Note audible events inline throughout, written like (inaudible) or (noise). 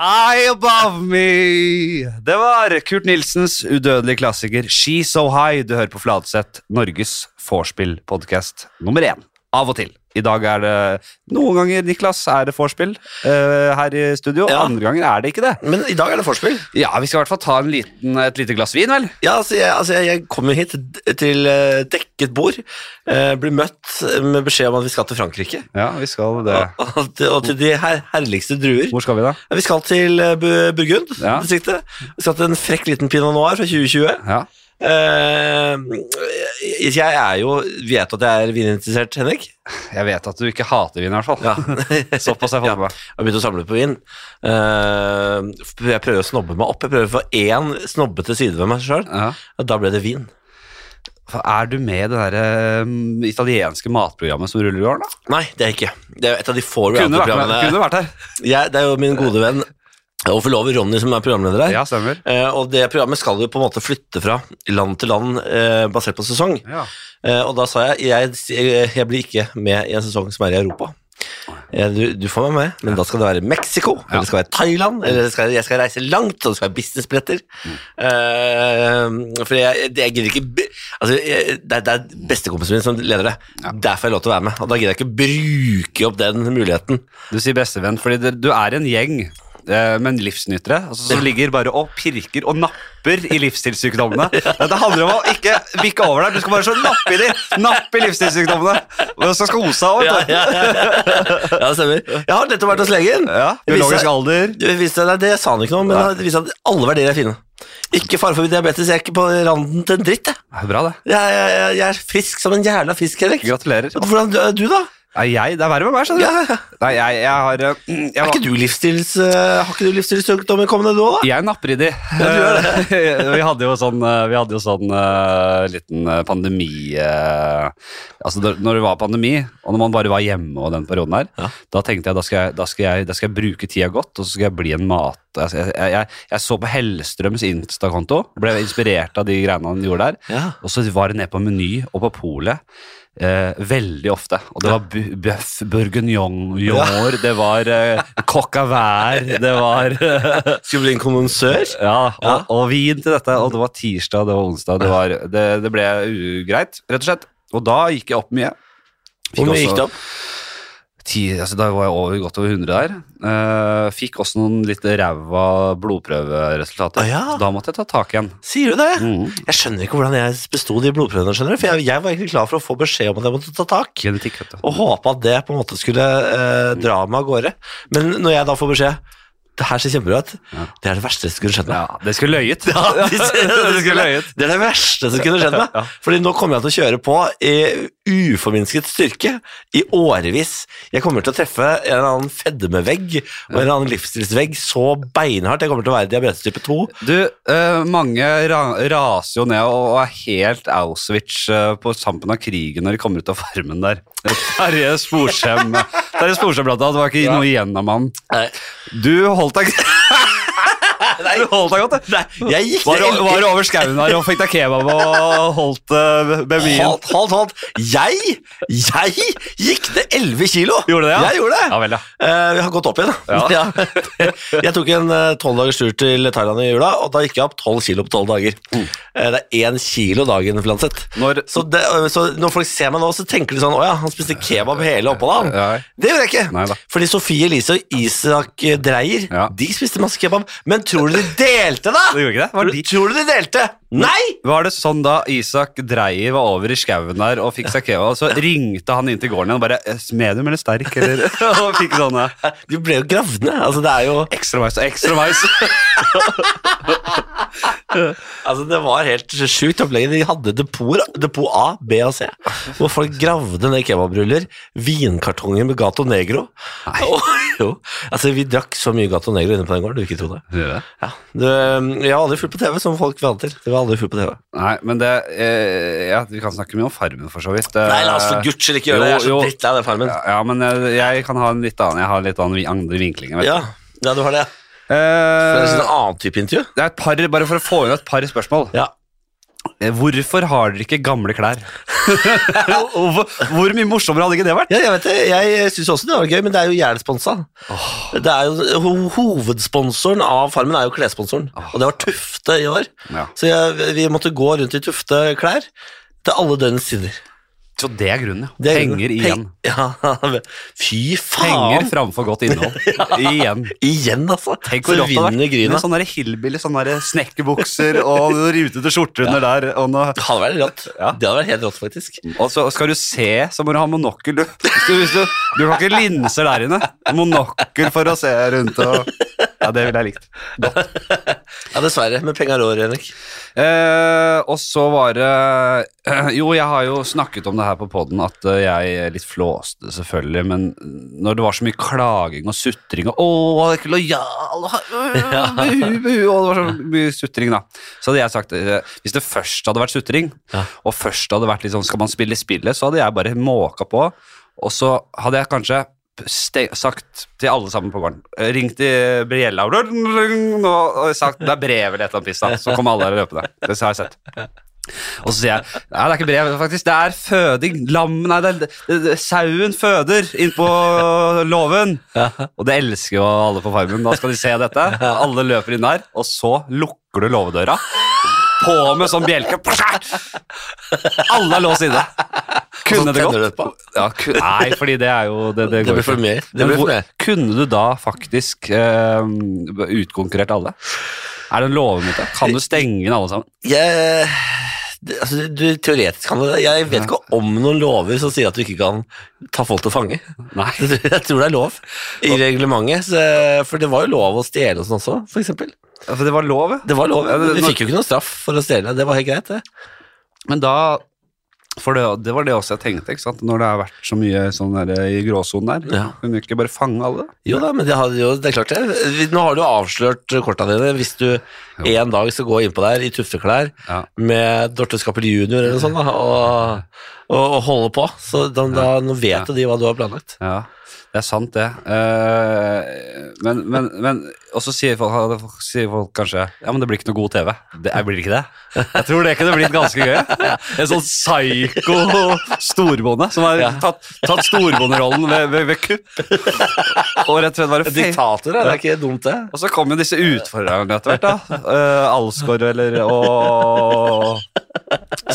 High above me! Det var Kurt Nilsens udødelige klassiker She So High. Du hører på Fladseth, Norges vorspiel-podkast nummer én. Av og til. I dag er det Noen ganger, Niklas, er det vorspiel eh, her i studio. Ja. Andre ganger er det ikke det. Men i dag er det forspill. Ja, vi skal i hvert fall ta en liten, et lite glass vin, vel? Ja, altså, jeg, altså, jeg- jeg kom jo hit d- til eh, dekket bord, eh, blir møtt med beskjed om at vi skal til Frankrike. Ja, vi skal det. Og, og til- og til de her, herligste druer. Hvor skal vi, da? Ja, Vi skal til eh, Bu- Burgund, Ja. distriktet. Vi skal til en frekk liten pinot noir fra 2020. Ja. Eh, jeg er jo Vet at jeg er vininteressert, Henrik. Jeg vet at du ikke hater vin, i hvert fall. Ja. Jeg Såpass har jeg fått med meg. har begynt å samle på vin. Eh, jeg prøver å snobbe meg opp. Jeg prøver å få én snobbete side ved meg sjøl. Ja. Da ble det vin. Er du med i det der, eh, italienske matprogrammet som ruller i år, da? Nei, det er jeg ikke. Det er et av de få Kunne vært, med, reality-programmene. kunne vært her. Jeg- Det er jo min gode venn og forlover Ronny som er programleder her. Ja, stemmer. Eh, og det programmet skal jo på en måte flytte fra land til land eh, basert på sesong. Ja. Eh, og da sa jeg, jeg jeg jeg blir ikke med i en sesong som er i Europa. Eh, Du, du får meg med, men da skal det være Mexico, eller det skal være Thailand, eller det skal, jeg skal reise langt, og det skal være businessbilletter. Eh, for jeg, det- jeg gidder ikke b- altså, jeg, det, er- det er bestekompisen min som leder det. Der får jeg lov til å være med, og da gidder jeg ikke bruke opp den muligheten. Du sier bestevenn, fordi det, du er en gjeng eh, men livsnytere altså, som ligger bare og pirker og napper i (laughs) livsstilssykdommene. Dette handler om å ikke bikke over deg, du skal bare så nappe i de, nappe i livsstilssykdommene. Og så skal kose deg Ja, også, vet du. ja, ja, (laughs) ja. ja, det stemmer. Jeg har nettopp vært hos legen. Ja, Jeg viste- biologisk alder. Det viste seg, nei, det sa han ikke noe om, men det viste seg at alle verdier er fine. Ikke fare for diabetes, jeg er ikke på randen til en dritt, jeg. Det er Bra det. Jeg, jeg, jeg, jeg er frisk som en jævla fisk, Henrik. Gratulerer. Hvordan er du, da? Nei, jeg, det er verre med meg, skjønner du. Ja, ja. Nei, jeg, jeg har eh, mm, jeg Er var- ikke du livsstils, eh, har ikke du livsstilssykdommer kommende nå, da? Jeg napper i de. (laughs) vi hadde jo sånn, eh, vi hadde jo sånn eh, liten eh, pandemi eh, Altså da- når det var pandemi, og når man bare var hjemme og den perioden her, Ja. da tenkte jeg da, skal jeg da skal jeg da skal jeg bruke tida godt, og så skal jeg bli en mat... Altså, jeg, jeg, jeg, jeg så på Hellstrøms Insta-konto, ble inspirert av de greiene han gjorde der. Ja. Og så var det ned på Meny og på Polet eh, veldig ofte. Og det var bu- bøff, bourguignon, jår, det var eh, coq à vert, det var (laughs) Skal du bli en kondensør? ja, og, Ja. og vin til dette. Og det var tirsdag, det var onsdag. Det, var, det, det ble ugreit, rett og slett. Og da gikk jeg opp mye. Fikk Hvor mye også- gikk det opp? Ti, altså da var jeg over, godt over 100 der. Eh, fikk også noen litt ræva blodprøveresultater. Å ja. Så da måtte jeg ta tak igjen. Sier du det? Mm. Jeg skjønner ikke hvordan jeg besto de blodprøvene, skjønner du. For jeg, jeg var egentlig klar for å få beskjed om at jeg måtte ta tak. Genetikk, vet du. Og håpe at det på en måte skulle eh, dra meg av gårde. Men når jeg da får beskjed Det her ser kjempebra ut. Det er det verste som kunne skjedd meg. Ja, det skulle løyet. Ja, de (laughs) sier det. det skulle løyet. Det er det verste som kunne skjedd meg. Ja. Fordi nå kommer jeg til å kjøre på i uforminsket styrke i årevis. Jeg kommer til å treffe en eller annen fedmevegg og en eller annen livsstilsvegg så beinhardt. Jeg kommer til å være diabetes type 2. Du, eh, mange ra raser jo ned og, og er helt Auschwitz eh, på tampen av krigen når de kommer ut av farmen der. Terje Sporsem, Terje Sporsem blant annet, det var ikke noe igjen av han. Nei. Du holdt deg, (laughs) du holdt deg godt, det. Jeg gikk Var, ned- var over skauen her og fikk deg kebab og holdt uh, bevien. Halt, halt, halt. Jeg, jeg gikk ned 11 kilo. Gjorde det, ja? Jeg gjorde det. Ja vel, ja. Eh, vi har gått opp igjen, da. Ja. (laughs) Ja. jeg tok en eh, tolv dagers tur til Thailand i jula, og da gikk jeg opp tolv kilo på tolv dager. Mm. Eh, det er én kilo dagen, Flanseth. Når, Så, det, øh, så når folk ser meg nå, så tenker de sånn Å ja, han spiste kebab hele oppholdet, han. Nei. Det gjorde jeg ikke. Nei da. Fordi Sofie Elise og Isak øh, Dreyer Ja. de spiste masse kebab. Men tror du de delte, da? Det gjorde ikke det. Var de- Tror du de delte? Nei! var det sånn da Isak Dreyer var over i skauen der og fikk seg kebab, så ringte han inn til gården igjen og bare eh, Medium eller sterk, eller? (laughs) Og fikk sånne De ble jo gravd ned. Altså, det er jo Ekstra mais og ekstra mais. Altså, det var helt sjukt opplegget. De hadde depot, depot A, B og C, hvor folk gravde ned kebabruller, vinkartonger med Gato Negro. Og, (laughs) jo, altså, vi drakk så mye Gato Negro inne på den gården, du ikke tro det. Ja, det, jeg har aldri fulgt på TV, som folk vant til. Det var aldri fulgt på TV. Nei, men det eh, ja, Vi kan snakke mye om Farmen, for så vidt. Eh, Nei, la oss for guds skyld ikke gjøre det. Jeg jo, er så jo. drittlei av den farmen. ja, ja, men jeg, jeg kan ha en litt annen Jeg har litt annen, vi- andre vinklinger. Vet. Ja, ja du har det. du. Det er Eh, en annen type intervju. det er et par, Bare for å få inn et par spørsmål. Ja. eh, Hvorfor har dere ikke gamle klær? (laughs) Og hvor, hvor mye morsommere hadde ikke det vært? Ja, jeg vet det. Jeg syns også det var gøy, men det er jo Jæl-sponsa. Det er jo ho- Hovedsponsoren av Farmen er jo klessponsoren, og det var Tufte i år. Ja. Så jeg, vi måtte gå rundt i Tufte klær til alle døgnets tider. Så det er grunnen, ja. Det er- Penger igjen. Peng- Ja, (laughs) men- fy faen! Penger framfor godt innhold. Igjen. Igjen, altså. Tenk Så hvor rått det hadde vinner vært Gryna. med sånne der hillbilly, sånne der snekkerbukser og noen rutete skjorter under der. Og, noe. Det hadde vært rått. Det hadde vært helt rått, faktisk. og så skal du se, så må du ha monokkel. Du, hvis du, hvis du, du har ikke linser der inne. Monokkel for å se rundt og Ja, det ville jeg likt. Ja, dessverre. Men penger er rår, Henrik. Eh, og så var det eh, Jo, jeg har jo snakket om det her på poden at eh, jeg er litt flåste, selvfølgelig, men når det var så mye klaging og sutring og 'Å, han er ikke lojal' og, øh, buhu, buhu, og det var så mye sutring, da. Så hadde jeg sagt eh, Hvis det først hadde vært sutring, Ja. og først hadde vært litt sånn 'Skal man spille spillet', så hadde jeg bare måka på, og så hadde jeg kanskje ste- sagt til alle sammen på gården Ringt i Briella og, og sagt 'Det er brev' eller et eller annet piss, da. Så kom alle der løpende. Det har jeg sett. Og så sier jeg Nei, det er ikke brev, faktisk. Det er føding. Lam Nei, det er, det, det, sauen føder innpå låven. Og det elsker jo alle på Farmen. Da skal de se dette. Alle løper inn der, og så lukker du låvedøra. På med sånn bjelke. Alle er låst inne. Kunne Og det så tenner du gått? etterpå. Ja, ku- nei, fordi det er jo Det, det, Det går blir for ikke. mye. Det Men blir hvor- for mye. Kunne du da faktisk eh, utkonkurrert alle? Er det en låve mot det? Kan du stenge inn alle sammen? Jeg, det- altså, du, teoretisk kan det Jeg vet ikke om noen lover som sier at du ikke kan ta folk til fange. Nei. (laughs) Jeg tror det er lov i reglementet, så, for det var jo lov å stjele og sånn også, for eksempel. Ja, For det var lov, ja. Det var lov. Ja, det- Vi fikk jo ikke noe straff for å stjele, det var helt greit, det. Men da For det, det var det også jeg tenkte, ikke sant? når det har vært så mye sånn der, i gråsonen der. Ja. Kunne vi ikke bare fange alle? Jo da, men det, hadde jo, det er klart det. Vi- Nå har du avslørt korta dine. Hvis du en dag skal gå innpå der i tufteklær Ja. med Dorte Skappel junior eller noe sånt, da, og, og, og holde på, så da, da, nå vet jo de hva du har planlagt. Ja, det er sant, det. Eh, men, men, men Og så sier folk, hadde folk- sier folk kanskje Ja, men det blir ikke noe god TV. Det er- blir det ikke det? Jeg tror det kunne blitt ganske gøy. En sånn psycho storbonde som har tatt, tatt storbonderollen ved, ved, ved kupp. Og rett og slett bare fe- (laughs) Diktator, ja, det er ikke dumt, det. Og så kom jo disse utfordrerne etter hvert, da. Uh, Alsgaard eller og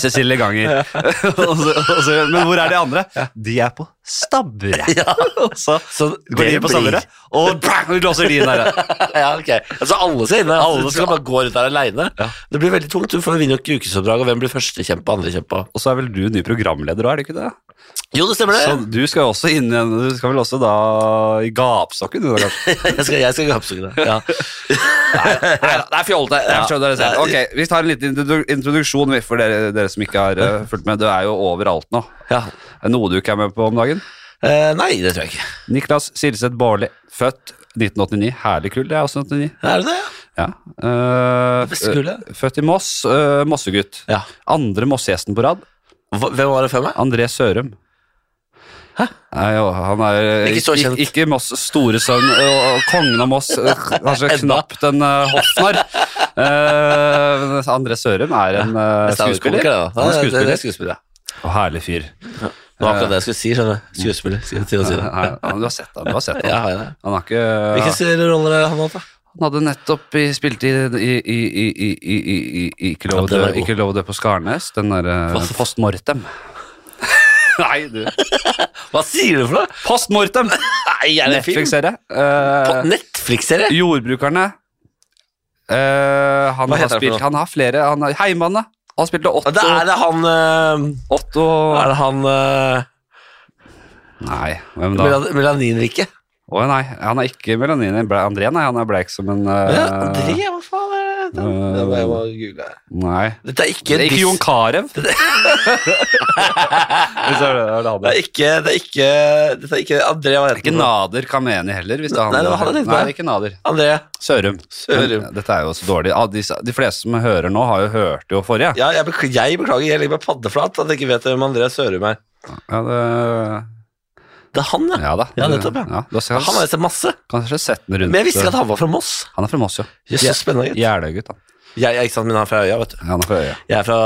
Cecilie Ganger. (laughs) og så, og så, men hvor er de andre? altså, De er på (laughs) stabburet. Ja, Og så så går de inn på stabburet, og bang, vi blåser de inn der. (laughs) ja, ok. Altså alle skal inn der. Alle skal bare gå rundt der alene. Det blir veldig tungt, for du vinner jo ikke ukesoppdrag, og hvem blir førstekjempe, andrekjempe? Og så er vel du ny programleder, da, er det ikke det? Jo, det stemmer det. Så du skal jo også inn igjen, du skal vel også da i gapstokken, du da, (laughs) kanskje? (laughs) Jeg skal, jeg skal gapsuge det. Ja. Nei, det er fjollete. Jeg skjønner dere selv. Ok, vi tar en liten introdu- introduksjon vi, for dere, dere som ikke har eh, fulgt med. Du er jo overalt nå. ja. Er det noe du ikke er med på om dagen? Eh, nei, det tror jeg ikke. Niklas Silseth Baarli, født 1989. Herlig kull, det er også 1989. Er det det? ja? Ja. Eh, beste kullet. eh, Født i Moss, eh, Mossegutt. Ja. Andre Mossegjesten på rad, Hva- Hvem var det før meg? André Sørum. Hæ? Nei, jo, han er eh, Ikke så kjent. Ikke, ikke Moss' store sønn, og, og kongen av Moss, eh, (laughs) kanskje knapt en uh, hoffnarr. Eh, men André Sørum er en eh, Det er skuespiller. komiker, det, da. Han er Ja, det- skuespiller. Det er skuespiller, ja. Og herlig fyr. Det var akkurat det jeg skulle si, skjønner du. Skuespiller, skal jeg til å si det. Nei, han- du har sett ham, du har sett ham. Ja, har jeg det. Han har ikke Hvilke serier- roller er det han har hatt, da? Han hadde nettopp i- spilt i, i, i, i, i, i, i, i ikke, lov å Ja, dø, den er god. ikke lov å dø på Skarnes, den der eh, Hva? Post Mortem. (laughs) Nei, du. Hva sier du for noe? Post Mortem! (laughs) Nei, er det film? Netflix-serie. På Eh, Netflix-serie? jordbrukerne. Eh, han, Hva har heter det for spilt, noe? han har flere. Han har, Heimanne. Han spilte Ja, Otto. Det er det han eh, Otto Er det han eh, Nei, hvem da? Eh, melan- Melaninrike? Å nei, han er ikke melanin. Ble- André, nei. Han er bleik som en eh, Ja, André, hva faen er det? Eh, Det må jeg bare google. Nei. Dette er ikke, Det er ikke Dis- Jon (laughs) Carew. (laughs) Hvis det er det- det er det han er. Det er ikke, det er ikke, dette er ikke André, hva Ikke heter han? Nader Kameni heller. Hvis det er han, Nei, det var han jeg tenkte på. Nei, ikke Nader. André. Sørum. Sørum. Men eh, Dette er jo så dårlig. Ah, de, de fleste som hører nå, har jo hørt jo forrige. Ja, jeg, bekl- jeg beklager, jeg legger meg paddeflat at jeg ikke vet hvem André Sørum er. Ja, det, Det er han, ja. ja da. Ja, nettopp, ja. du har Han har kanskje, jeg sett masse. kanskje sett den rundt eh, Men jeg visste ikke at han var fra Moss. Han er fra Moss, jo. Jøss, så spennende. gutt. Jeløya-gutt, han. Jeg, jeg, ikke sant, men han er fra øya, vet du. Han er fra øya. Jeg er fra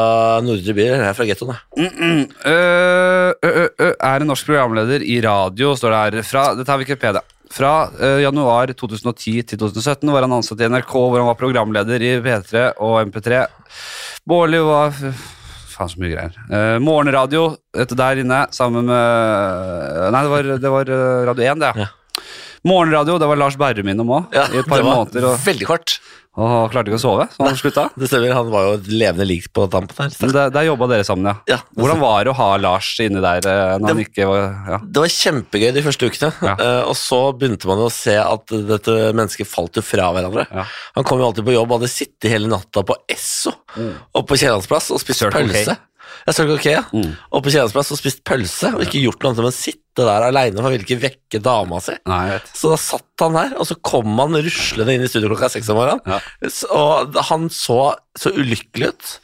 Nordre by, eller jeg er fra gettoen, jeg. Øh, øh, øh, er en norsk programleder i radio, står det her. Fra, dette er Wikipedia. Fra øh, januar 2010 til 2017 var han ansatt i NRK, hvor han var programleder i P3 og MP3. Bårli var Faen, så mye greier. Eh, morgenradio etter der inne, sammen med Nei, det var, det var øh, Radio 1, det. Ja. Morgenradio, det var Lars Berrum innom òg, Ja, i et par det var måneder. Og, Veldig kort. og klarte ikke å sove, så han slutta. Det stemmer, han var jo et levende lik på tampen her. Men Der, der jobba dere sammen, ja. Ja. Hvordan var det å ha Lars inni der eh, når han ikke var ja. Det var kjempegøy de første ukene, Ja. eh, og så begynte man jo å se at dette mennesket falt jo fra hverandre. Ja. Han kom jo alltid på jobb, hadde sittet hele natta på Esso og på Kiellandsplass og spist Mm. Circle K. Mm. pølse. Ja, Circle K, ja. Og på Kiellandsplass og spist pølse, og ikke gjort noe annet enn å sitte der aleine, for han ville ikke vekke dama si. Nei, jeg vet. Så da satt han der, og så kom han ruslende inn i studio klokka seks om morgenen. Ja. S- Og han så så ulykkelig ut.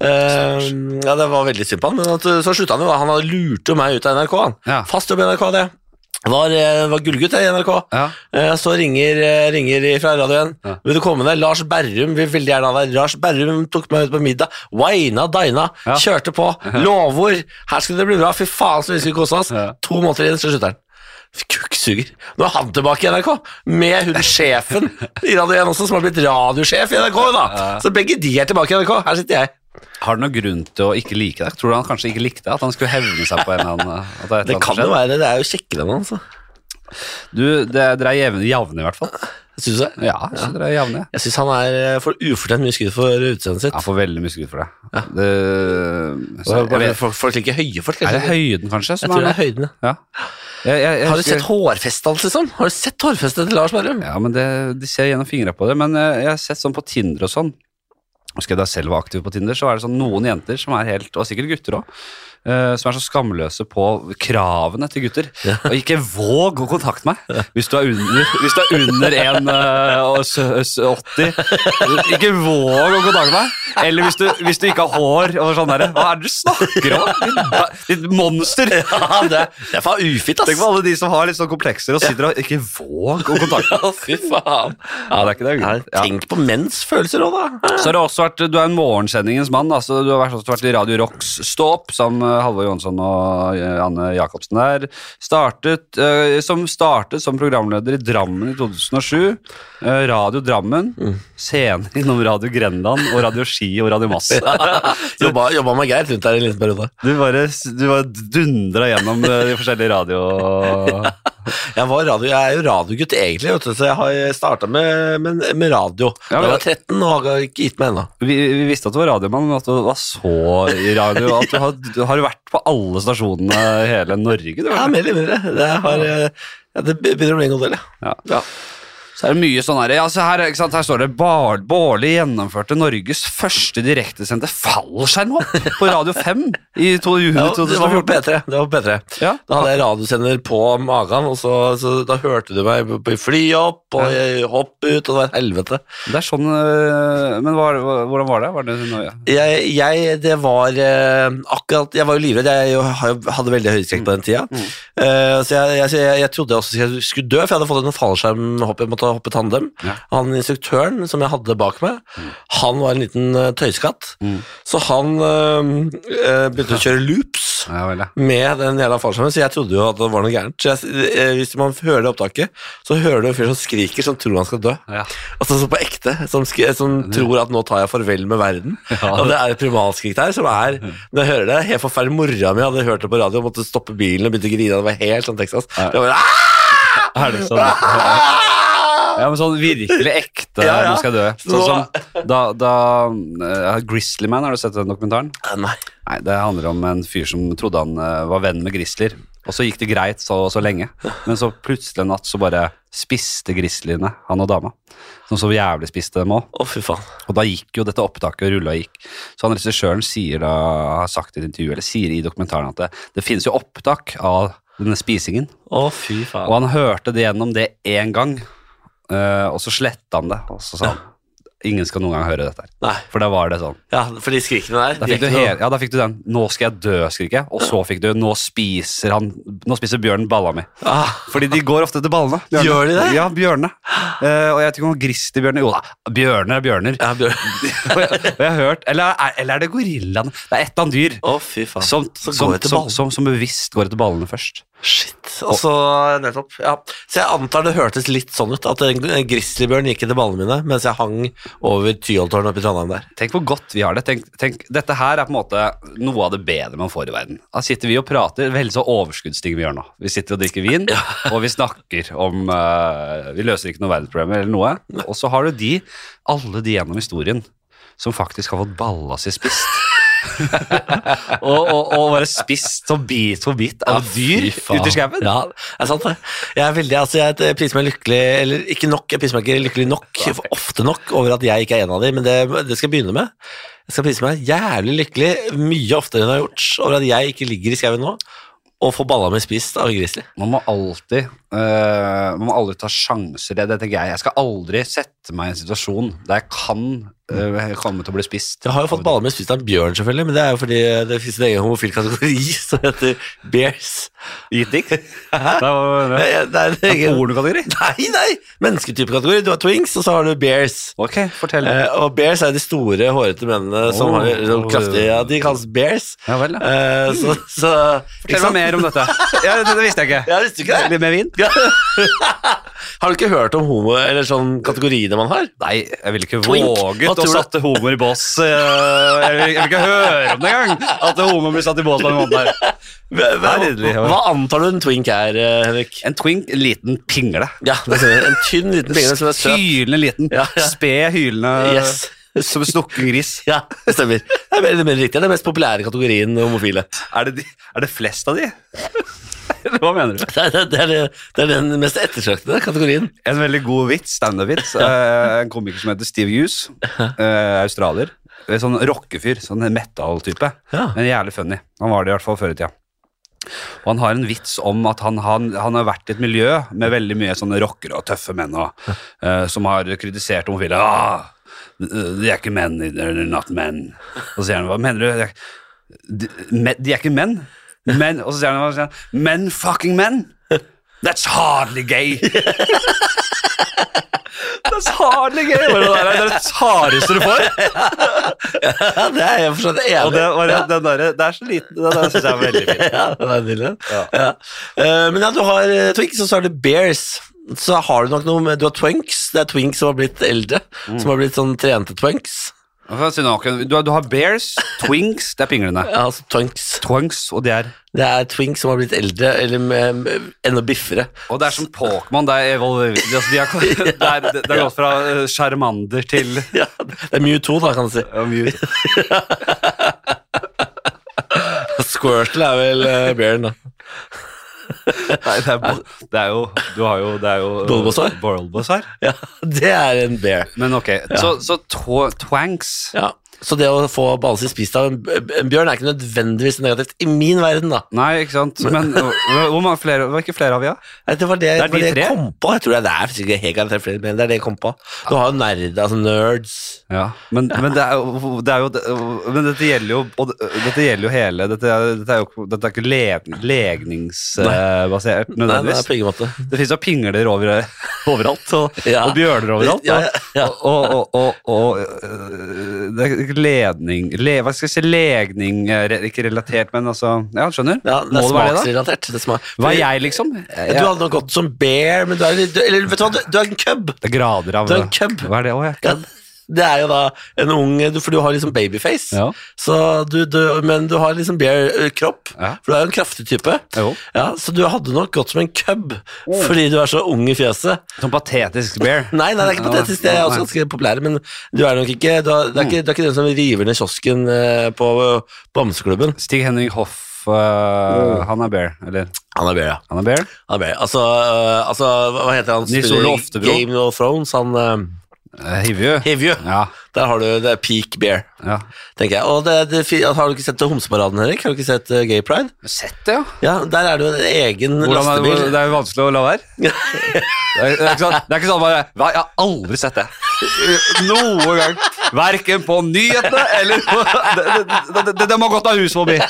Eh, ja, det var veldig synd på han, men at, så slutta han jo. da. Han hadde lurt jo meg ut av NRK. han. Ja. Fast jobb i NRK, det. Var, eh, var gullgutt jeg, i NRK. Ja. Eh, Så ringer, eh, ringer fra radioen. Ja. Vil du komme ned? Lars Berrum vil veldig gjerne ha deg. Lars Berrum tok meg ut på middag. Waina, dina, Ja. kjørte på. Lovord. Her skulle det bli bra. Fy faen, så vi skulle kose oss. Ja. To måneder inn, så slutter han. Kukksuger. Nå er han tilbake i NRK, med hun sjefen i Radio 1 også, som har blitt radiosjef i NRK. da. Så begge de er tilbake i NRK. Her sitter jeg. Har du noen grunn til å ikke like deg? Tror du han kanskje ikke likte deg? At han skulle hevne seg på en eller annen at er et Det eller annet kan som jo være det. Det er jo kjekkere enn han, altså. skjedde? Du, det, Dere er jevne, javne, i hvert fall. Syns du det? Ja, jeg synes dere er javne. jeg. Jeg syns han er eh, for ufortjent mye skudd for utseendet sitt. Jeg får veldig mye skryt for det. det så, Så, jeg vet, folk, folk liker høye folk, er det kanskje. høyden, kanskje? Jeg Som tror det er er høyden, ja. Ja. Jeg, jeg, jeg Har du husker- sett hårfestet hans, liksom? Har du sett hårfestet til Lars Berrum? (laughs) Ja, men det, De ser gjennom fingra på det. Men eh, jeg har sett sånn på Tinder og sånn Husker jeg da jeg selv var aktiv på Tinder, så er det sånn noen jenter som er helt, og sikkert gutter òg, som er så skamløse på kravene til gutter. Og ikke våg å kontakte meg hvis du er under, hvis du er under eh, 1,80. Ikke våg å kontakte meg! Eller hvis du, hvis du ikke har hår og sånn derre. Hva er det du snakker om? Ditt- Ditt monster! Ja, det, det er faen ufitt, Tenk (laughs) på alle de som har litt sånn komplekser og sitter og ikke våg å kontakte Ja, fy faen. Ja, det er ikke det. Ja, Ja. Tenk på menns følelser òg, da. Så har det også vært, Du er en morgensendingens mann. Altså, du har vært, også vært i Radio Rocks Stå opp sammen med Halvor Johansson og eh, Anne Jacobsen der. Startet, eh, som startet som programleder i Drammen i 2007. eh, Radio Drammen. Scene innom Radio Grenland og Radio Ski og Radio Mass. Jobba, jobba med Geir rundt der en liten periode. Du bare, du bare dundra gjennom eh, de forskjellige radio... Jeg, var radio, jeg er jo radiogutt egentlig, vet du, så jeg har starta med, med, med radio Ja, da men- jeg var 13 og har ikke gitt meg ennå. Vi, vi visste at du var radiomann, men at du var så i radio at du har, du har vært på alle stasjonene i hele Norge. Du, Ja, mer eller mindre. Det, har, eh, ja, det begynner å bli en god del, Ja. ja. Så er det mye sånn her, ja, så her, ikke sant, her står det Bar- Bårli gjennomførte Norges første direktesendte fallskjermhopp på Radio 5 i to, juni Ja, det var på 2014. P3. Det var på P3. Ja. Da hadde jeg radiosender på magen, og så, så da hørte du meg på- på fly opp og jeg hopp ut, og det var et helvete. Det er sånn, øh, men hva, hva- hvordan var det? Var det noe, ja. Jeg, jeg, det var eh, akkurat Jeg var jo livredd. Jeg jo har jo- hadde veldig høydeskrekk på den tida. Eh, så jeg, jeg, så jeg, jeg trodde jeg også jeg skulle dø, for jeg hadde fått en fallskjermhopp. Jeg måtte hoppe tandem. Ja. Han instruktøren som jeg hadde bak meg, han var en liten eh, tøyskatt. Så han eh, eh, begynte å kjøre loops. Ja, vel, ja. med den jævla fallskjermen, så jeg trodde jo at det var noe gærent. Så jeg, eh, hvis man hører det opptaket, så hører du en fyr som skriker som tror han skal dø. Ja. Altså så på ekte, som, sk- som tror at nå tar jeg farvel med verden. Ja. Og det er et primalskrik der som er Når jeg hører det, helt forferdelig. Mora mi hadde hørt det på radio og måtte stoppe bilen og begynte å grine. Det var helt sånn Texas. Ja. Det var, bare, Er det sånn? «Ah!» Ja, men sånn virkelig ekte Ja, ja. Nå skal jeg dø. Sånn som da, da øh, Grizzly Man, har du sett den dokumentaren? Nei. Nei, det handler om en fyr som trodde han eh, var venn med grisler. Og så gikk det greit så og så lenge, men så plutselig en natt så bare spiste grislene han og dama. Som så jævlig spiste dem òg. Å, fy faen. Og da gikk jo dette opptaket og rulla og gikk. Så han regissøren sier da, har sagt i et intervju, eller sier i dokumentaren at det, det finnes jo opptak av denne spisingen. Å, fy faen. Og han hørte det gjennom det én gang, eh, og så sletta han det. Og så sa han ingen skal noen gang høre dette. her. Nei. For da var det sånn. Ja, for de skrikene der Da de er fikk, du ikke noe- hele, ja, da fikk du den 'nå skal jeg dø'-skriket, og så fikk du 'nå spiser, han, nå spiser bjørnen balla mi'. ah, Fordi de går ofte til ballene. bjørnene. Gjør de det? Ja, bjørnene. Eh, og jeg vet ikke om gris til bjørner Jo da, bjørner er bjørner. ja, Bjørn. (laughs) og jeg, og jeg har hørt, eller, er- eller er det gorillaen? Det er et eller annet dyr. Å, fy faen. Som, så går som, jeg til som, ballen. som, som bevisst går etter ballene først. Shit. Og så nettopp. Ja. Så jeg antar det hørtes litt sånn ut, at en en grizzlybjørn gikk etter ballene mine mens jeg hang over Tyholttårnet oppe i Trondheim der. Tenk hvor godt vi har det. Tenk, tenk, dette her er på en måte noe av det bedre man får i verden. Da sitter vi og prater, vel så overskuddsting vi gjør nå. Vi sitter og drikker vin, (laughs) og vi snakker om eh, Vi løser ikke noen verdensproblemer eller noe. Og så har du de, alle de gjennom historien, som faktisk har fått balla si spist. (laughs) og, og, og bare spist sånn bit for bit av dyr ute i skauen. Ja, det er sant det. Jeg er veldig, altså jeg jeg priser meg lykkelig, eller ikke nok, jeg priser meg ikke lykkelig nok, for ofte nok, over at jeg ikke er en av dem, men det, det skal jeg begynne med. Jeg skal prise meg jævlig lykkelig, mye oftere enn jeg har gjort, over at jeg ikke ligger i skauen nå, og får balla mi spist av en grizzly. Man må alltid eh, Man må aldri ta sjanser. Det, det tenker jeg. Jeg skal aldri sette meg i en situasjon der jeg kan eh, komme til å bli spist. Jeg har jo fått balla mi spist av en bjørn, selvfølgelig, men det er jo fordi eh, det finnes en egen homofil kategori (laughs) som heter bears. Eating? Hæ? (laughs) Det var Det er, det er en egen... pornokategori. (laughs) Nei, nei! Mennesketypekategori. Du har twings, og så har du bears. Ok, fortell. Eh, og bears er de store, hårete mennene som Oh. har sånn kraftig Ja, de kalles bears. ja vel, ja. Eh, så, så ikke Fortell sant? meg mer om dette. (laughs) Ja, det, det visste jeg ikke. Ja, visste du ikke det? Litt mer vin? Har du ikke hørt om homo eller sånn kategoriene man har? Nei, jeg ville ikke Twink. Hva våget å tror du? satte homoer i bås. eh, Jeg vil, jeg vil ikke høre om det engang, at homo blir satt i bås på den måten her. Hva, hva, Nydelig, ja. hva antar du en twink er, eh, Henrik? En twink, en liten pingle. Ja, det ser sånn jeg. En tynn (laughs) liten pingle som er søt. Hylende liten. Ja, ja. Sped, hylende Yes. Som en snukken gris. (laughs) Ja, det stemmer. Det er mer eller mindre riktig. Det er den mest populære kategorien homofile. Er det, de, er det flest av de? Eller (laughs) hva mener du? Det er, det er, det er den mest ettersøkte kategorien. En veldig god vits, standup-vits. eh, En komiker som heter Steve (laughs) Hughes. eh, Australier. Eh, Sånn rockefyr. Sånn metal-type. Ja. Men jævlig funny. Han var det i hvert fall før i tida. Og han har en vits om at han, han, han har vært i et miljø med veldig mye sånne rockere og tøffe menn og, eh, som har kritisert homofile. Ah, de er ikke menn, they're not men. Og så sier han, hva mener du? De, er- de, men- de er ikke menn. Men, og så sier han, hva sier han? Men fucking men. That's hardly (laughs) gay. That's hardly gay. Bare Det er det er det hardeste du får. (laughs) Ja, det er jeg for så vidt enig Og det, var- den der, det er så liten. Den der synes jeg er veldig fin. (laughs) ja, det er nydelig. Ja. Ja. Eh, men ja, du har eh, Twinks, og så har du Bears. Så har du nok noe med Du har Twinks. Det er Twinks som har blitt eldre. Som har blitt sånn trente Twinks. Hva kan jeg si nå? Akkurat- Du, har- du har bears, twinks, det er pinglene. Ja, altså Twinks. Twinks, og det er Det er Twinks som har blitt eldre, eller med, med, enda biffere. Og det er som Pokémon. Det er evolver... Altså, de har, (laughs) det, er, det er gått fra eh, sjarmander til eh, Ja, det er Mew 2, da, kan du si. Squirtle er vel uh, Bearen, da. Nei, det er, bo- det er jo Du har jo Det er jo eh, Bulbasaur? Bulbasaur. (laughs) Ja, det er en bear. Men ok, så, så tw twanks Ja. Så det å få ballesi spist av en, en bjørn er ikke nødvendigvis negativt i min verden, da. Nei, ikke sant? (laughs) Men øh, hvor mange flere, var ikke flere av vi, da? Nei, Det var det, det, er var de det jeg tre. kom på. Jeg tror det er- det er sikkert helt garantert flere, men det er det jeg kom på. Du har jo nerd, altså nerds. Ja, men, men det er jo, det er jo det- Men dette gjelder jo og det- Dette gjelder jo hele Dette er, dette er jo ikke- dette er ikke leg, legningsbasert Nei, det er nødvendigvis. på ingen måte. Det fins jo pingler over, overalt, og, Ja. og bjørner overalt. Ja, ja, ja. Og, og, og, og, og øh, det er ikke ledning le, Hva skal jeg si? Legning eh, re- Ikke relatert, men altså Ja, skjønner. Ja, det Må er det være det, da? smaksrelatert. Det er smak. Hva er jeg, liksom? Du hadde nok gått som bear, men du er, du, eller, vet du, hva, du, du er en cub. Det er grader av Du er en cub. Hva er det? Å, ja, Ja, cub. det er jo da en ung du- For du har liksom babyface, Ja. så du, du, men du har liksom bear-kropp. Ja. For du er jo en kraftig type. Jo. Ja, så du hadde nok gått som en cub fordi du er så ung i fjeset. Sånn patetisk bear. Nei, nei, det er ikke patetisk. Det er også ganske populære, men du er nok ikke Du er, du er, ikke, Mm. du er ikke den som river ned kiosken eh, på eh, Bamseklubben. Stig Henning Hoff, eh, Mm. han er bear, eller? Han er Bera. Han er bear? Han er bear. Altså, eh, altså, hva hva heter han? Nils Spiller Ole Oftebro. Game of Thrones, han uh, Eh, Hivju? Hivju. Ja. eh, Der har du det er peak beer, Ja. tenker jeg. Og det, det, fi- har du ikke sett Homseparaden, Henrik? Har du ikke sett eh, Gay Pride? Sett det, ja. Ja, der er det jo en egen Hvordan er det, lastebil. det er jo vanskelig å la være. Det er, det er, ikke, sånn, det er ikke sånn bare Hva, Jeg har aldri sett det. Noen gang. Verken på nyhetene eller på Det, det, det, det, det må gått av huset forbi. (laughs)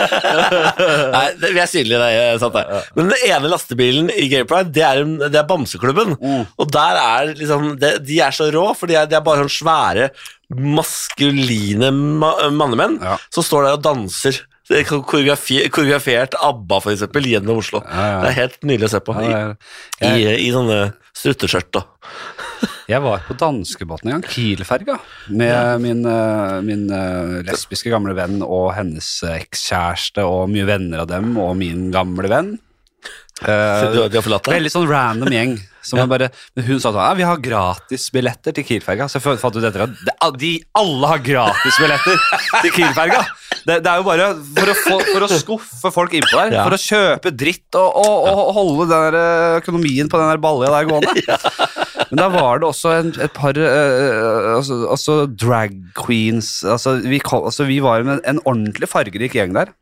Nei, det, vi er synlige der. jeg Satt der. Men den ene lastebilen i Gay Pride, det er, en, det er Bamseklubben. Mm. Og der er liksom det, De er så rå, for de er, de er bare sånn svære, maskuline ma mannemenn Ja. som står der og danser. Det er Koreografi, koreografert ABBA, for eksempel, gjennom Oslo. Ja, ja. Det er helt nydelig å se på. I, Ja, i, Jeg, i sånne strutteskjørt. da. jeg var på danskebåten en gang, Kielferga, med min, eh, min eh, lesbiske gamle venn og hennes eh, ekskjæreste og mye venner av dem og min gamle venn. Eh, Så du, de har forlatt deg? Veldig sånn random gjeng. Som er bare, men hun sa sånn ja, vi har gratisbilletter til Kielferga. Så jeg fant ut etter at det- de alle har gratisbilletter til Kielferga. Det, det er jo bare for å, få, for å skuffe folk innpå der. Ja. For å kjøpe dritt og, og, og, holde den der eh, økonomien på den der balja der (laughs) gående. Men da var det også en, et par eh, altså, altså drag queens altså vi, kom, altså vi var en, en ordentlig fargerik gjeng der.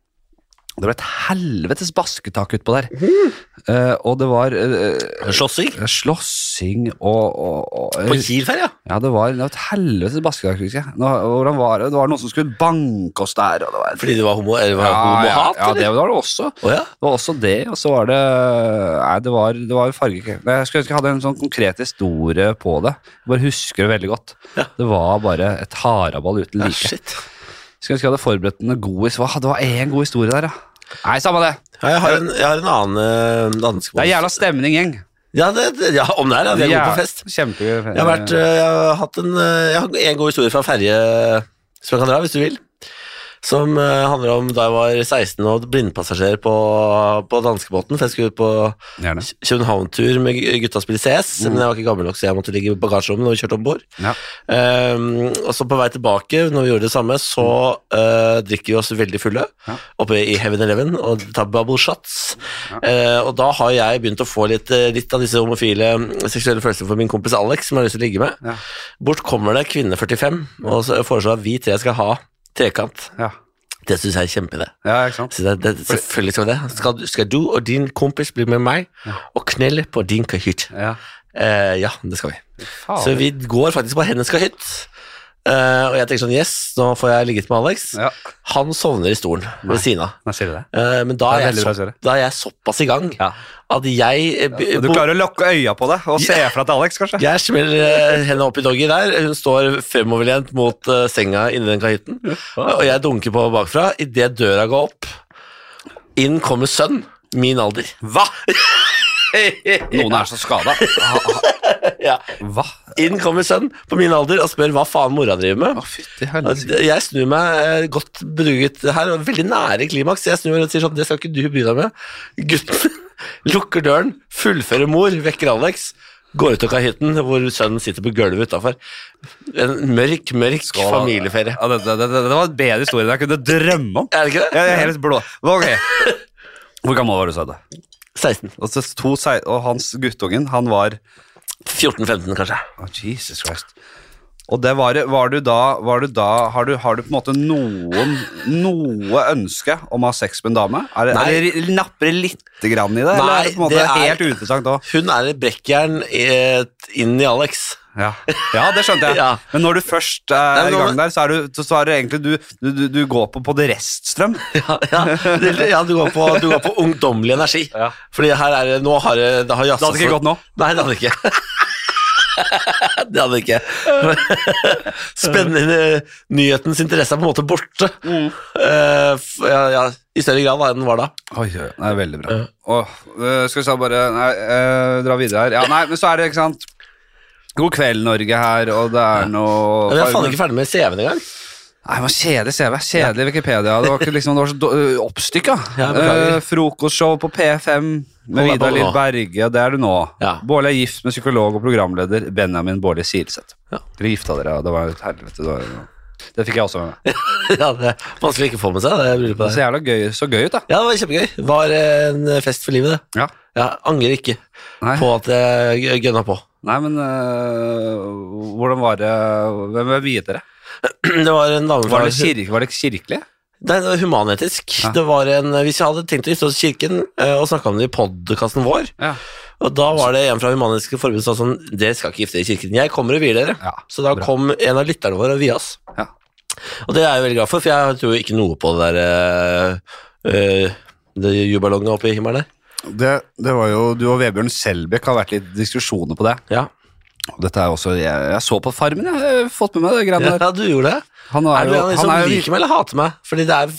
Det ble et helvetes basketak utpå der. Mhm. Eh, og det var eh, Slåssing? eh, slåssing og, og, og På Kiel-ferja? Ja, det var, det var et helvetes basketak, husker jeg. Nå- Hvordan var det? Det var noen som skulle banke oss der. Og det var, Fordi det var homo, eller var ja, homohat? ja, eller? det var det også. Å ja. Det var også det, og så var det Nei, det var, det var farge... Nei, Jeg skulle ønske jeg hadde en sånn konkret historie på det. Jeg bare husker det veldig godt. Det var bare et haraball uten Ja, like. shit. Skulle ønske jeg hadde forberedt en god historie. Hva? Det var én god historie der, ja. Nei, samme det. Ja, jeg, har en, jeg har en annen eh, dansk Det er jævla stemning, gjeng. Ja, det, det- ja om det er, ja. Vi er gode på fest. Kjempegøy. Jeg har, vært, eh, jeg har hatt en, eh, jeg har en god historie fra ferje som jeg kan dra, hvis du vil. Som eh, handler om da jeg var 16 og blindpassasjer på, på danskebåten. For jeg skulle ut på Gjerne. København-tur med gu- gutta og spille CS, Mm. men jeg var ikke gammel nok, så jeg måtte ligge i bagasjerommet når vi kjørte om bord. Ja. Ehm, og så på vei tilbake, når vi gjorde det samme, så eh, drikker vi oss veldig fulle Ja. oppe i Heaven Eleven og tar bubble shots. Eh, og da har jeg begynt å få litt, eh, litt av disse homofile mm, seksuelle følelsene for min kompis Alex, som jeg har lyst til å ligge med. Ja. Bort kommer det kvinne 45 og så foreslår at vi tre skal ha trekant. Ja. Det syns jeg er en kjempeidé. ja, ikke sant? Så det, det, selvfølgelig skal vi det. Skal, du- skal du og din kompis bli med meg og knelle på din kahytt? Ja. Eh, ja, det skal vi. Faen. Så vi går faktisk på hennes kahytt. Eh, og jeg tenker sånn Yes, nå får jeg ligget med Alex. Ja. Han sovner i stolen ved siden av. Nei, sier du det? Eh, men Det da er er, jeg veldig bra, så, Sverre. da er jeg såpass i gang Ja. at jeg eh, b- Du bo- klarer å lokke øya på det og se fra til Alex, (laughs) kanskje? jeg smeller eh, henne opp i doggy der. Hun står fremoverlent mot eh, senga inni den kahytten. Og jeg dunker på bakfra. Idet døra går opp, inn kommer sønn. Min alder. Hva?! Noen er så skada. (laughs) Ja. Hva? Inn kommer sønn på min alder og spør hva faen mora driver med. fytti Og det- Jeg snur meg eh, godt beruget her, og veldig nære klimaks. Jeg snur meg og sier sånn, det skal ikke du bry deg med. Gutten (laughs) lukker døren, fullfører mor, vekker Alex, går ut av kahytten, hvor sønnen sitter på gulvet utafor. En mørk, mørk familieferie. Ja, det, det, det, det var en bedre historie enn jeg kunne drømme om. Er det ikke det? Jeg er helt blå. Hva- Ok. Hvor gammel var du, sa du? 16. Og, så to, sei- og hans guttungen, han var 14-15, kanskje. Å, Jesus Christ. Og det var, var du da, var du da har, du, har du på en måte noen noe ønske om å ha sex med en dame? Er det, Nei. er det napper det lite grann i det? eller Nei, er det, på en måte det er- helt uinteressant òg? Hun er et brekkjern eh, inn i Alex. Ja. ja, det skjønte jeg. (laughs) Ja. Men når du først eh, er Nei, men i nå- gang der, så er, du, så- så er det egentlig du, du, du, du går på, på det reststrøm. Ja, ja, det- (laughs) ja du, går på, du går på ungdommelig energi. Ja. Fordi her er det Nå har det, det har Det hadde ikke gått nå. Nei, det hadde det ikke. (laughs) det hadde det ikke. (laughs) Spennende nyhetens interesse er på en måte borte. Mm. Eh, f- ja, ja, I større grad da enn den var da. Oi, oi, oi. Nei, veldig bra. Åh, øh, skal vi se, bare nei, øh, dra videre her. Ja, nei, men så er det, ikke sant God kveld, Norge her, og det er noe Men jeg er faen ikke ferdig med CV-en engang. (laughs) Nei, det var Kjedelig CV. Kjedelig Wikipedia. Det var, ikke, liksom, det var så do- oppstykka. Ja, beklager. Eh, frokostshow på P5 med Hold deg Vidar på Lill nå. Berge, og det er du nå. Ja. Bårli er gift med psykolog og programleder Benjamin Bårli Silseth. Ja. Dere gifta dere, og det var jo et helvete. Det var jo Det fikk jeg også med meg. ja, det er vanskelig å ikke få med seg det Det bryllupet. ser der. jævla gøy, så gøy ut, da. Ja, det var kjempegøy. Var en fest for livet, det. Ja. Jeg angrer ikke Nei, på at jeg gønna på. (clears throat) Nei men øh, hvordan var det Hvem hvem viet dere? Det var en dame fra Var det, kirke, var det kirkelig? Nei, det var humanetisk. Ja. Det var en, hvis jeg hadde tenkt å gifte oss i kirken eh, og snakka om det i podkasten vår, Ja. og da var det en fra Human-Etisk Forbund som sa sånn Dere skal ikke gifte dere i kirken. Jeg kommer og vier dere. Ja, Så da bra. kom en av lytterne våre og via oss. Ja. Og det er jeg veldig glad for, for jeg tror ikke noe på det der eh, eh, Det jubalongen oppe i himmelen der. Det, det var jo, Du og Vebjørn Selbekk har vært litt diskusjoner på det. Ja. Og Dette er jo også, jeg, jeg så på Farmen, jeg. jeg. har Fått med meg det greiene der. ja, du gjorde det. Han Er er du jo en han som er jo liker meg eller hater meg? Fordi det er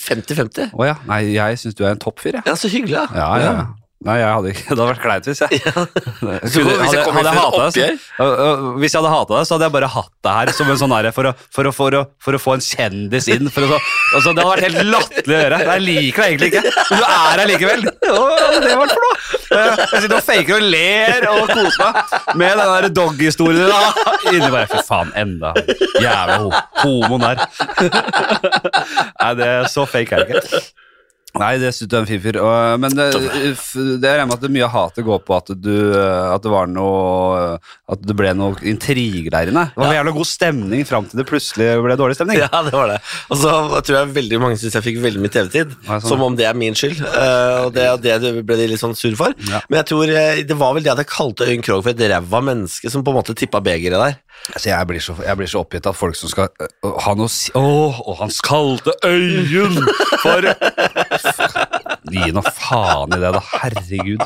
50-50. Å ja. Nei, jeg syns du er en toppfyr, jeg. Ja, så hyggelig, da. Ja, ja. ja. Nei, jeg hadde ikke (laughs) Det hadde vært kleint hvis jeg Så Skulle- hvis jeg kom hadde inn i et hatet deg, så- Øh, øh, Hvis jeg hadde hata deg, så hadde jeg bare hatt deg her som en sånn herre for, å- for, å- for, å- for å få en kjendis inn. For å, så- altså, det hadde vært helt latterlig å gjøre. Jeg liker deg egentlig ikke, men du er her likevel. Hva hadde det vært for noe? Eh, Jeg sitter og faker og ler og koser meg med den der dog-historien din. da. Inni bare Fy faen, enda han jævla ho homoen der. Nei, det er så fake er det ikke. Nei, det syns du er en fin fyr. Og- Men det, eh, f- det er med at det mye av hatet går på at, du, eh, at det var noe At det ble noe intriger der inne. Det var jævla god stemning fram til det plutselig ble dårlig stemning. (laughs) Ja, det var det. Og så tror jeg veldig mange syns jeg fikk veldig mye TV-tid. Nei, sånn. Som om det er min skyld. eh, og det, og det ble de litt sånn sur for. Ja. Men jeg tror eh, det var vel det at jeg kalte Øyunn Krogh for et ræva menneske som på en måte tippa begeret der. Altså, jeg, blir så, jeg blir så oppgitt av folk som skal øh, ha noe å si Åh, og han kalte øyen for Gi nå faen i det, da. Herregud.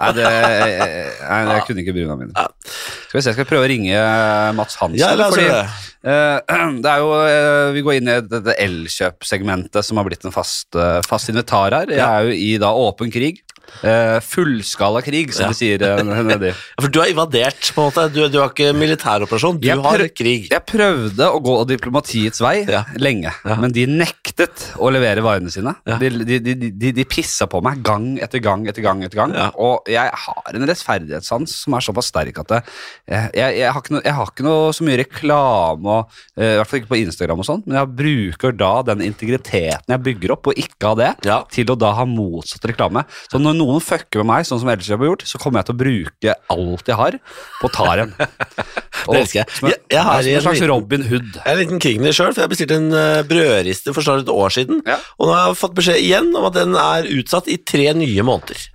Nei, det, nei, jeg kunne ikke bry meg mindre. Skal vi se, jeg skal prøve å ringe øh, Mats Hansen. Ja, la oss fordi, gjøre det. eh, det er jo, eh, vi går inn i dette elkjøpsegmentet som har blitt en fast, eh, fast invitar her. Jeg Ja. er jo i da åpen krig. Eh, fullskala krig, som Ja. de sier eh, nedi. For du er invadert, på en måte. Du, du har ikke militæroperasjon, du Jeg har prøv- krig. Jeg prøvde å gå diplomatiets vei Ja. lenge, Ja. men de nektet å levere varene sine. Ja. De, de, de, de, de pissa på meg gang etter gang etter gang. etter gang Ja. Og jeg har en rettferdighetssans som er såpass sterk at det, jeg, jeg, jeg, har ikke noe- jeg har ikke noe så mye reklame, og, eh, i hvert fall ikke på Instagram, og sånn, men jeg bruker da den integriteten jeg bygger opp, og ikke av det, Ja. til å da ha motsatt reklame. Så når noen fucker med meg, sånn som Elkjøp har gjort, så kommer jeg til å bruke alt jeg har, på taren. Og- Det elsker jeg. Som en, Jeg- jeg har ja, som en en slags liten- Robin Hood. Jeg er en liten krigen i sjøl, for jeg bestilte en eh, brødriste for snart et år siden. Ja. Og nå har jeg fått beskjed igjen om at den er utsatt i tre nye måneder.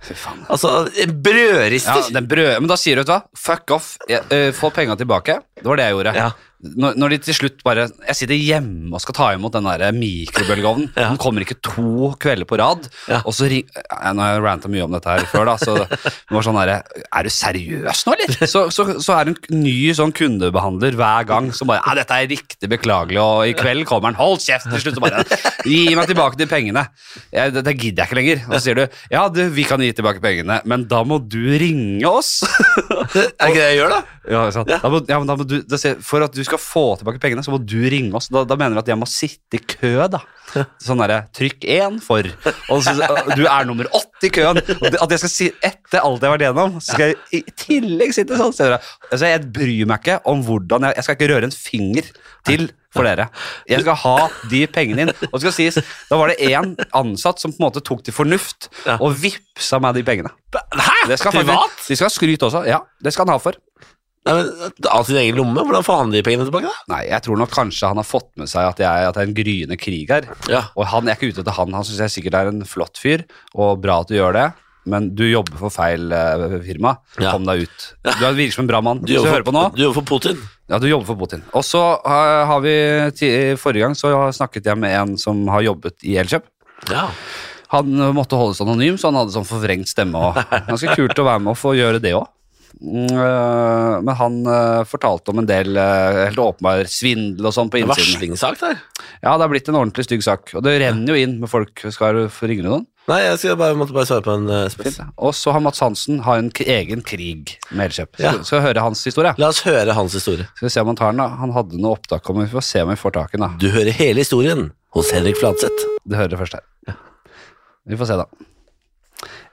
Altså, en Ja, brødrister! den brød, men da sier du, vet du hva, fuck off, jeg, øh, få penga tilbake. Det var det jeg gjorde. Ja. Når, når de til slutt bare Jeg sitter hjemme og skal ta imot den der eh, mikrobølgeovnen. Ja. Den kommer ikke to kvelder på rad. Ja. Og så ring, eh, Nå har jeg ranta mye om dette her før, da. Så det var sånn derre Er du seriøs nå, eller? Så, så, så er det en ny sånn kundebehandler hver gang som bare Ja, dette er riktig beklagelig, og i kveld kommer han. Hold kjeft! Til slutt så bare Gi meg tilbake de pengene. Jeg, det, det gidder jeg ikke lenger. Og så sier du ja, du, vi kan gi tilbake pengene, men da må du ringe oss. Det Er ikke det jeg gjør, da? Ja, ikke sant? Ja. Da må, ja, men da må du, da sier jeg, for at du skal få tilbake pengene, så må du ringe oss. Da, da mener du at jeg må sitte i kø, (laughs) da. Sånn derre Trykk én for og så, Du er nummer åtte i køen. Og det- At jeg skal si etter alt jeg har vært igjennom, så skal jeg i tillegg sitte sånn. steder. Altså, jeg bryr meg ikke om hvordan jeg Jeg skal ikke røre en finger til for dere. Jeg skal ha de pengene inn. Og det skal sies, da var det én ansatt som på en måte tok til fornuft Ja. og vippsa meg de pengene. Hæ? Det skal faktisk- Privat? De skal ha skryt også. Ja, det skal han ha for. Nei, men, Av sin egen lomme? Hvordan får han de pengene tilbake, da? Nei, jeg tror nok kanskje han har fått med seg at, jeg, at det er en gryende krig her. Ja. Og han jeg er ikke ute etter han, han syns jeg sikkert er en flott fyr, og bra at du gjør det. Men du jobber for feil eh, firma. Ja. Kom deg ut. Du er- virker som en bra mann. Du Hvis du jobber, hører på nå, for, du jobber for Putin? ja, du jobber for Putin. Og så eh, har vi ti, Forrige gang så snakket jeg med en som har jobbet i Elkjøp. Ja. Han eh, måtte holdes anonym, så han hadde sånn forvrengt stemme. Og ganske kult å være med og få gjøre det òg. Men han eh, fortalte om en del eh, helt åpenbar svindel og sånn på En innsiden. varslingssak der? Ja, det har blitt en ordentlig stygg sak. Og det renner jo inn med folk. Skal du få ringe noen? Nei, jeg skal bare, måtte bare svare på en eh, spørsmål. sånn. Og så har Mats Hansen har en k- egen krig med Elkjøp. Ja. Skal- Skal vi høre hans historie? La oss høre hans historie. Skal vi se om han tar den, da. Han hadde noe opptak om Vi får se om vi får tak i den, da. Du hører hele historien hos Henrik Fladseth. Du hører det først her. Vi får se, da.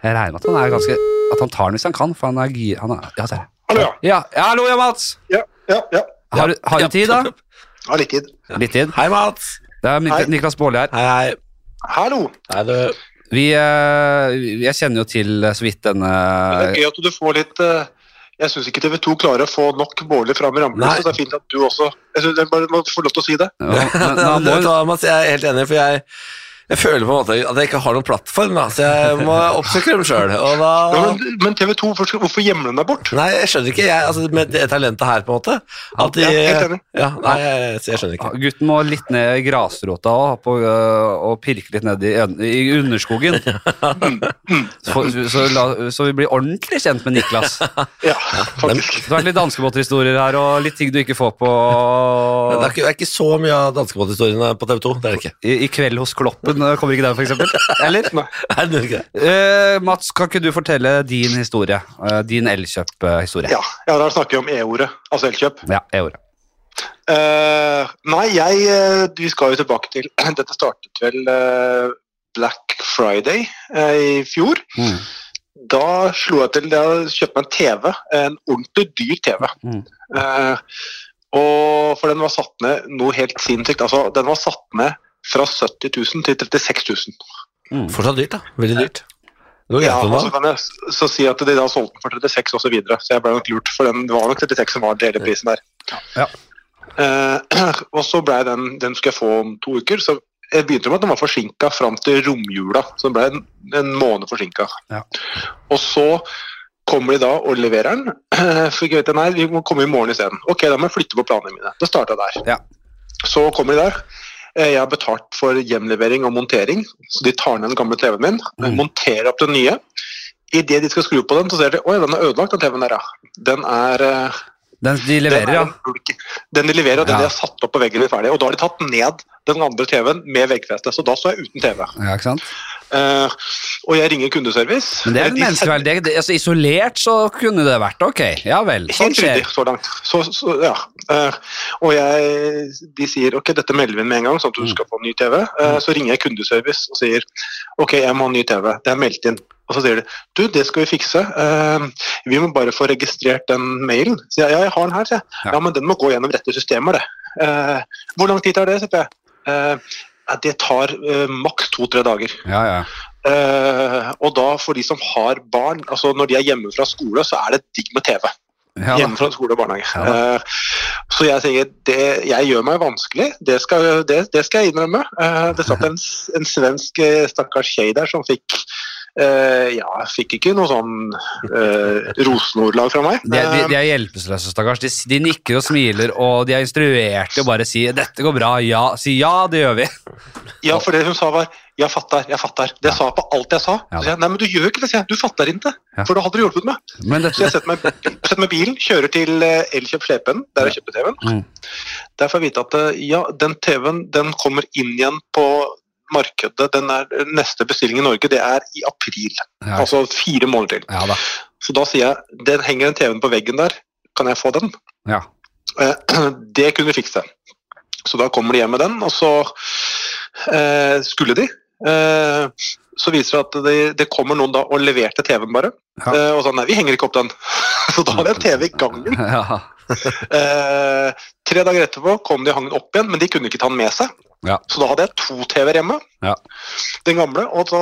Jeg regner med at han er ganske At han tar den hvis han kan, for han er gi... Han er, ja, der. Hallo, ja. Ja, ja, hallo, ja, Mats! Ja, ja, ja. Har, du- har du tid, da? Ha litt tid. (laughs) Litt tid. Hei, Mats. Det er Nik- Hei. Niklas Baarli her. Hei, hei. Hallo. Hei, du. Vi, eh, vi- jeg kjenner jo til eh, så vidt Det er denne gøy at du får litt eh, Jeg syns ikke TV 2 klarer å få nok båler fram i Nei. rampelyset, så det er fint at du også Jeg synes det er bare Man får lov til å si (laughs) det. Ja, (laughs) men- men Ja, han det, må- Thomas, jeg er helt enig, for jeg, jeg føler på en måte at jeg ikke har noen plattform, da, så jeg må oppsøke dem sjøl. Ja, men men TV 2, først, hvorfor gjemmer den deg bort? Nei, jeg skjønner ikke, jeg, altså, med det talentet her, på en måte. At de, Ja, helt enig. ja, nei, jeg, så jeg skjønner ikke. Gutten må litt ned i grasrota og, på, øh, og pirke litt ned i, en- i underskogen. Så, så, la, så vi blir ordentlig kjent med Niklas. Ja, faktisk. Det har vært litt danskebåthistorier her og litt ting du ikke får på Det er ikke, det er ikke så mye av danskebåthistoriene på TV 2. Det er det ikke. i, I kveld hos Kloppen. Øh, Kommer ikke den, for eksempel? Eller? (laughs) Nei, det er ikke det. Eh, Mats, kan ikke du fortelle din historie? Eh, din Elkjøp-historie. Ja, ja, da snakker vi om E-ordet, altså Elkjøp. Ja, jeg gjorde det. Eh, nei, jeg eh, Vi skal jo tilbake til (clears throat) Dette startet vel eh, Black Friday eh, i fjor. Mm. Da slo jeg til Jeg kjøpte meg en TV. En ordentlig dyr TV. Mm. Eh, og For den var satt ned noe helt sinnssykt. Altså, den var satt ned fra 70 000 til 36 000. Mm. Fortsatt dyrt, da. Veldig dyrt. Det går Ja, greit og om så dagen. kan jeg s- så si at de da solgte den for 36 osv., så, videre, så jeg ble nok lurt, for den, det var nok 36 som var hele prisen der. Ja. Eh, (clears throat) og så ble den Den skulle jeg få om to uker. så jeg begynte med at den var forsinka fram til romjula, så den ble en, en måned forsinka. Ja. Og så kommer de da og leverer den. (clears throat) Fikk vite nei, vi må komme i morgen isteden. Ok, da må jeg flytte på planene mine. Det starta der. Ja. Så kommer de der. Eh, Jeg har betalt for hjemlevering og montering, så de tar ned den gamle TV-en min, Mm. monterer opp den nye. Idet de skal skru på den, så ser de oi, den er ødelagt, den TV-en der, ja. Den er eh, Den de leverer, den, ja. er en bulk. den de leverer, og den Ja. de har satt opp på veggen min ferdig. Og da har de tatt ned den andre TV-en med veggfeste, så da står jeg uten TV. ja. Ikke sant? Eh, og jeg ringer kundeservice. Men det er Eh, vel de menneskeverd. Det, det, altså, isolert så kunne det vært ok. Ja vel. Sånn Helt ryddig skjer. så langt. Så, så, ja. Eh, og jeg, de sier ok, dette melder vi inn med en gang, sånn at du Mm. skal få ny TV. Eh, så ringer jeg kundeservice og sier ok, jeg må ha ny TV. Det er meldt inn. Og så sier de du, det skal vi fikse. Eh, vi må bare få registrert den mailen. Så jeg, ja, jeg har den her, sier jeg. Ja. Ja. men den må gå gjennom rette systemer, det. Eh, hvor lang tid tar det, sier jeg. Eh, ja, det tar eh, maks to-tre dager. Ja, ja. Eh, og da for de som har barn, altså når de er hjemme fra skole, så er det digg med TV ja da. hjemme fra skole og barnehage. Ja da. Eh, så jeg tenker det, jeg gjør meg vanskelig, det skal, det, det skal jeg innrømme. Eh, det satt en, s- en svensk eh, stakkars kjei der som fikk eh, ja, fikk ikke noe sånn uh, rosenordlag fra meg. De, de, de er hjelpeløse, stakkars. De, de nikker og smiler, og de er instruerte og bare sier 'dette går bra', ja. Si ja, det gjør vi. Eh, ja, for det hun sa var 'jeg fatter, jeg fatter'. Det sa jeg på alt jeg sa. Ja da. Så jeg, Nei, men du gjør ikke det, sier jeg. Du fatter ikke. Ja. For da hadde du hjulpet meg. Men Så dette, jeg setter meg, setter meg i bilen, kjører til eh, Elkjøp Slepen, der jeg kjøpte TV-en. Mm. Der får jeg vite at eh, ja, den TV-en den kommer inn igjen på markedet. Den er, neste bestilling i Norge det er i april, ja, altså fire måneder til. ja da. Så da sier jeg den henger den TV-en på veggen der, kan jeg få den? (clears throat) Ja. Eh, Det kunne vi fikse. Så da kommer de hjem med den, og så eh, skulle de. Eh, så viser det seg at det det kommer noen da og leverte TV-en bare. Ja. Eh, og sa nei, vi henger ikke opp den. (laughs) Så da hadde jeg en TV i gangen. ja. Eh, tre dager etterpå kom de og hang den opp igjen, men de kunne ikke ta den med seg. Ja. Så da hadde jeg to TV-er hjemme, Ja. den gamle. Og så,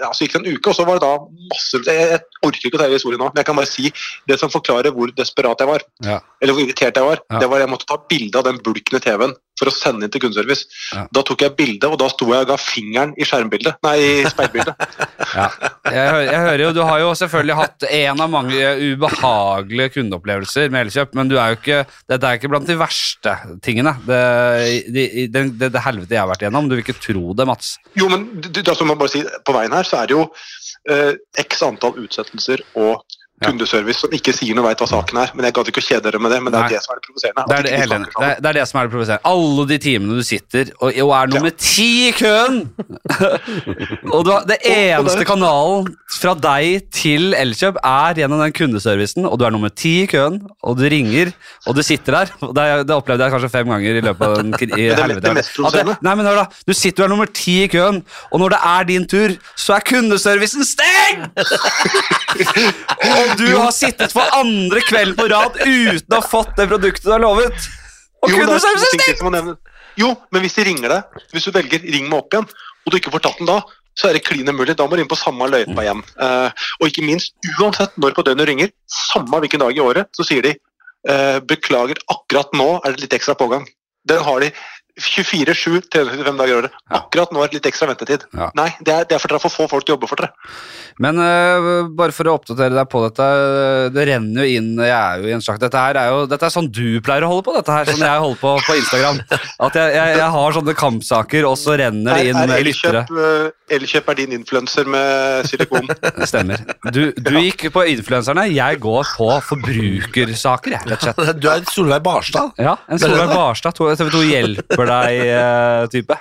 ja, så gikk det en uke, og så var det da masse Jeg, jeg orker ikke å ta hele historien nå, men jeg kan bare si det som forklarer hvor desperat jeg var. Ja. Eller hvor irritert jeg var. Ja. Det var Jeg måtte ta bilde av den bulkne TV-en for å sende inn til kundeservice. Ja. Da tok jeg bilde, og da sto jeg og ga fingeren i skjermbildet. Nei, i speilbildet. Ja. Jeg, hører, jeg hører jo, Du har jo selvfølgelig hatt en av mange ubehagelige kundeopplevelser med Elkjøp, men du er jo ikke, dette er ikke blant de verste tingene. Det, de, det, det, det helvete jeg har vært igjennom. Du vil ikke tro det, Mats. jo, men du, da skal man bare si, på veien her så er det jo eh, x antall utsettelser og Ja. kundeservice som ikke sier noe veit hva saken er. Men jeg gadd ikke å kjede dere med det, men det Nei. er det som er det provoserende. at Det er det, ikke de hele, snakker det, sammen. er, det er det som er det provoserende. Alle de timene du sitter og, og er nummer ti i køen! (laughs) og du har, det og eneste det- kanalen fra deg til Elkjøp er gjennom den kundeservicen, og du er nummer ti i køen, og du ringer, og du sitter der. Og Det, det opplevde jeg kanskje fem ganger i løpet av (laughs) den kri- i er helvete. det At mest det- provoserende. Nei, men hør da, Du sitter og er nummer ti i køen, og når det er din tur, så er kundeservicen stengt! og du har sittet for andre kvelden på rad uten å ha fått det produktet du har lovet. Og Jo, det kunne er to ting sausestek! til som må nevnes. Jo, men hvis de ringer deg, hvis du velger 'ring meg opp igjen', og du ikke får tatt den da, så er det klin umulig. Da må du inn på samme løypa igjen. Eh, og ikke minst, uansett når på døgnet du ringer, samme hvilken dag i året, så sier de eh, 'beklager, akkurat nå er det litt ekstra pågang'. Den har de 24-7, 365 dager i året. Ja. Akkurat nå er det litt ekstra ventetid. Ja. Nei, det er, det er for dere er for få folk til å jobbe for dere. Men øh, bare for å oppdatere deg på dette, øh, det renner jo inn Jeg er jo i en slags Dette her er jo Dette er sånn du pleier å holde på, dette her, sånn jeg holder på på Instagram. At jeg, jeg, jeg har sånne kampsaker, og så renner det inn Er- er med lyttere. Elkjøp, eh, Elkjøp er din influenser med silikon. (laughs) Det Stemmer. Du, du gikk på influenserne, jeg går på forbrukersaker, jeg, rett og slett. (laughs) Du er Solveig Barstad. Ja, En Solveig Barstad, TV2 hjelper eh, deg-type.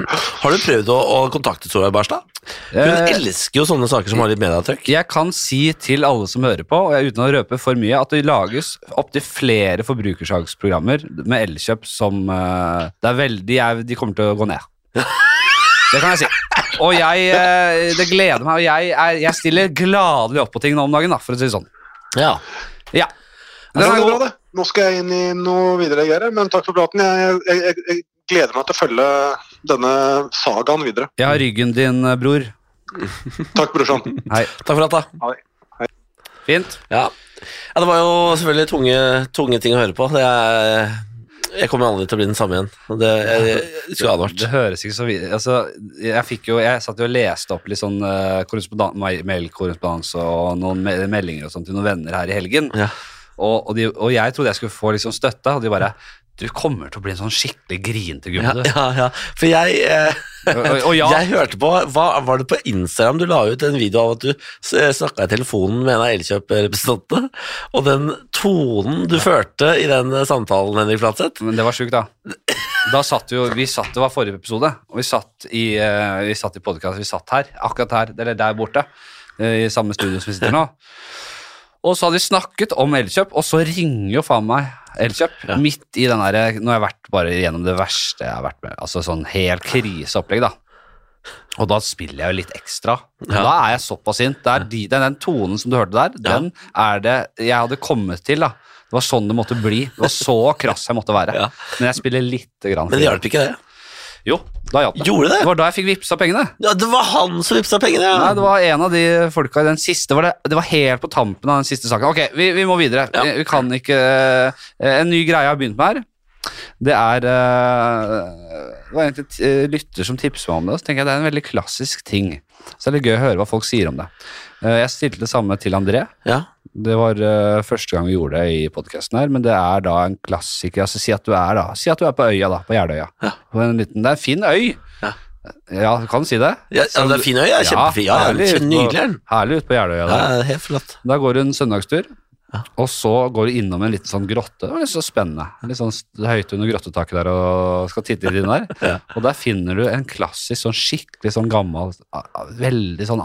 Har du prøvd å, å kontakte Solveig Barstad? Hun elsker jo sånne saker som har litt medieavtrykk. Jeg kan si til alle som hører på, og jeg, uten å røpe for mye, at det lages opptil flere forbrukersaksprogrammer med Elkjøp som eh, det er veldig, de, er, de kommer til å gå ned. Det kan jeg si. Og jeg, eh, det gleder meg, og jeg, er, jeg stiller gladelig opp på ting nå om dagen, da, for å si det sånn. Ja. Ja. Ja, Den det er er bra, god. det. Altså, Nå skal jeg inn i noe videre greier, men takk for praten. Jeg, jeg, jeg, jeg gleder meg til å følge denne sagaen videre. Jeg har ryggen din, eh, bror. Takk, brorsan. Hei. Takk for at da. Fint. Ja. ja, det var jo selvfølgelig tunge, tunge ting å høre på. Det er, jeg kommer aldri til å bli den samme igjen. Det, jeg, jeg skulle advart. Det høres ikke så videre altså, jeg, fikk jo, jeg satt jo og leste opp litt sånn eh, korrespondan- ma- mailkorrespondanse og noen me meldinger og sånt til noen venner her i helgen. Ja. Og, og, de, og jeg trodde jeg skulle få liksom støtte, og de bare Du kommer til å bli en sånn skikkelig grinete gubbe, Ja, du. ja, ja. For jeg, eh, Og, og, og ja, jeg hørte på hva, Var det på Instagram du la ut en video av at du snakka i telefonen med en av Elkjøp-representantene? Og den tonen du førte i den eh, samtalen, Henrik Flatseth men det var sjukt, da. Da satt jo, vi satt, Det var forrige episode, og vi satt i, uh, i podkast. Vi satt her, akkurat her, eller der borte, eh, i samme studio som vi sitter nå. Og så hadde vi snakket om Elkjøp, og så ringer jo faen meg Elkjøp midt i den derre Nå har jeg vært bare gjennom det verste jeg har vært med. Altså sånn helt kriseopplegg, da. Og da spiller jeg jo litt ekstra. Ja. Da er jeg såpass sint. Det er de, den, den tonen som du hørte der, Ja. den er det jeg hadde kommet til, da. Det var sånn det måtte bli. Det var så krass jeg måtte være. Ja. Men jeg spiller lite grann. Men det hjalp ikke, det. Jo, da hjalp det. Gjorde det? Det var da jeg fikk vippsa pengene. Ja, det var han som vippsa pengene! Ja. Nei, det var en av de folka i den siste var det, det var helt på tampen av den siste saken. Ok, vi, vi må videre. Ja. Vi, vi kan ikke eh, En ny greie jeg har begynt med her, det er eh, Det var egentlig t- eh, lytter som tipset meg om det, og så tenker jeg det er en veldig klassisk ting. Så det er litt gøy å høre hva folk sier om det. Eh, jeg stilte det samme til André. Ja. Det var eh, første gang vi gjorde det i podkasten her, men det er da en klassiker. Altså, si at du er da, si at du er på øya, da, på Jeløya. Ja. På en liten, det er en fin øy. Ja. ja, du kan si det. Ja, ja, det er fin øy, ja. Kjempefin. Ja, ja, herlig ut på- nydelig er den. Herlig ute på Jeløya. Ja, der. helt flott. Da går du en søndagstur, Ja. og så går du innom en liten sånn grotte. Det var litt så spennende. Litt sånn st- høyt under grottetaket der og skal titte litt inn der. Ja. Og der finner du en klassisk, sånn skikkelig sånn gammel, a- a- veldig sånn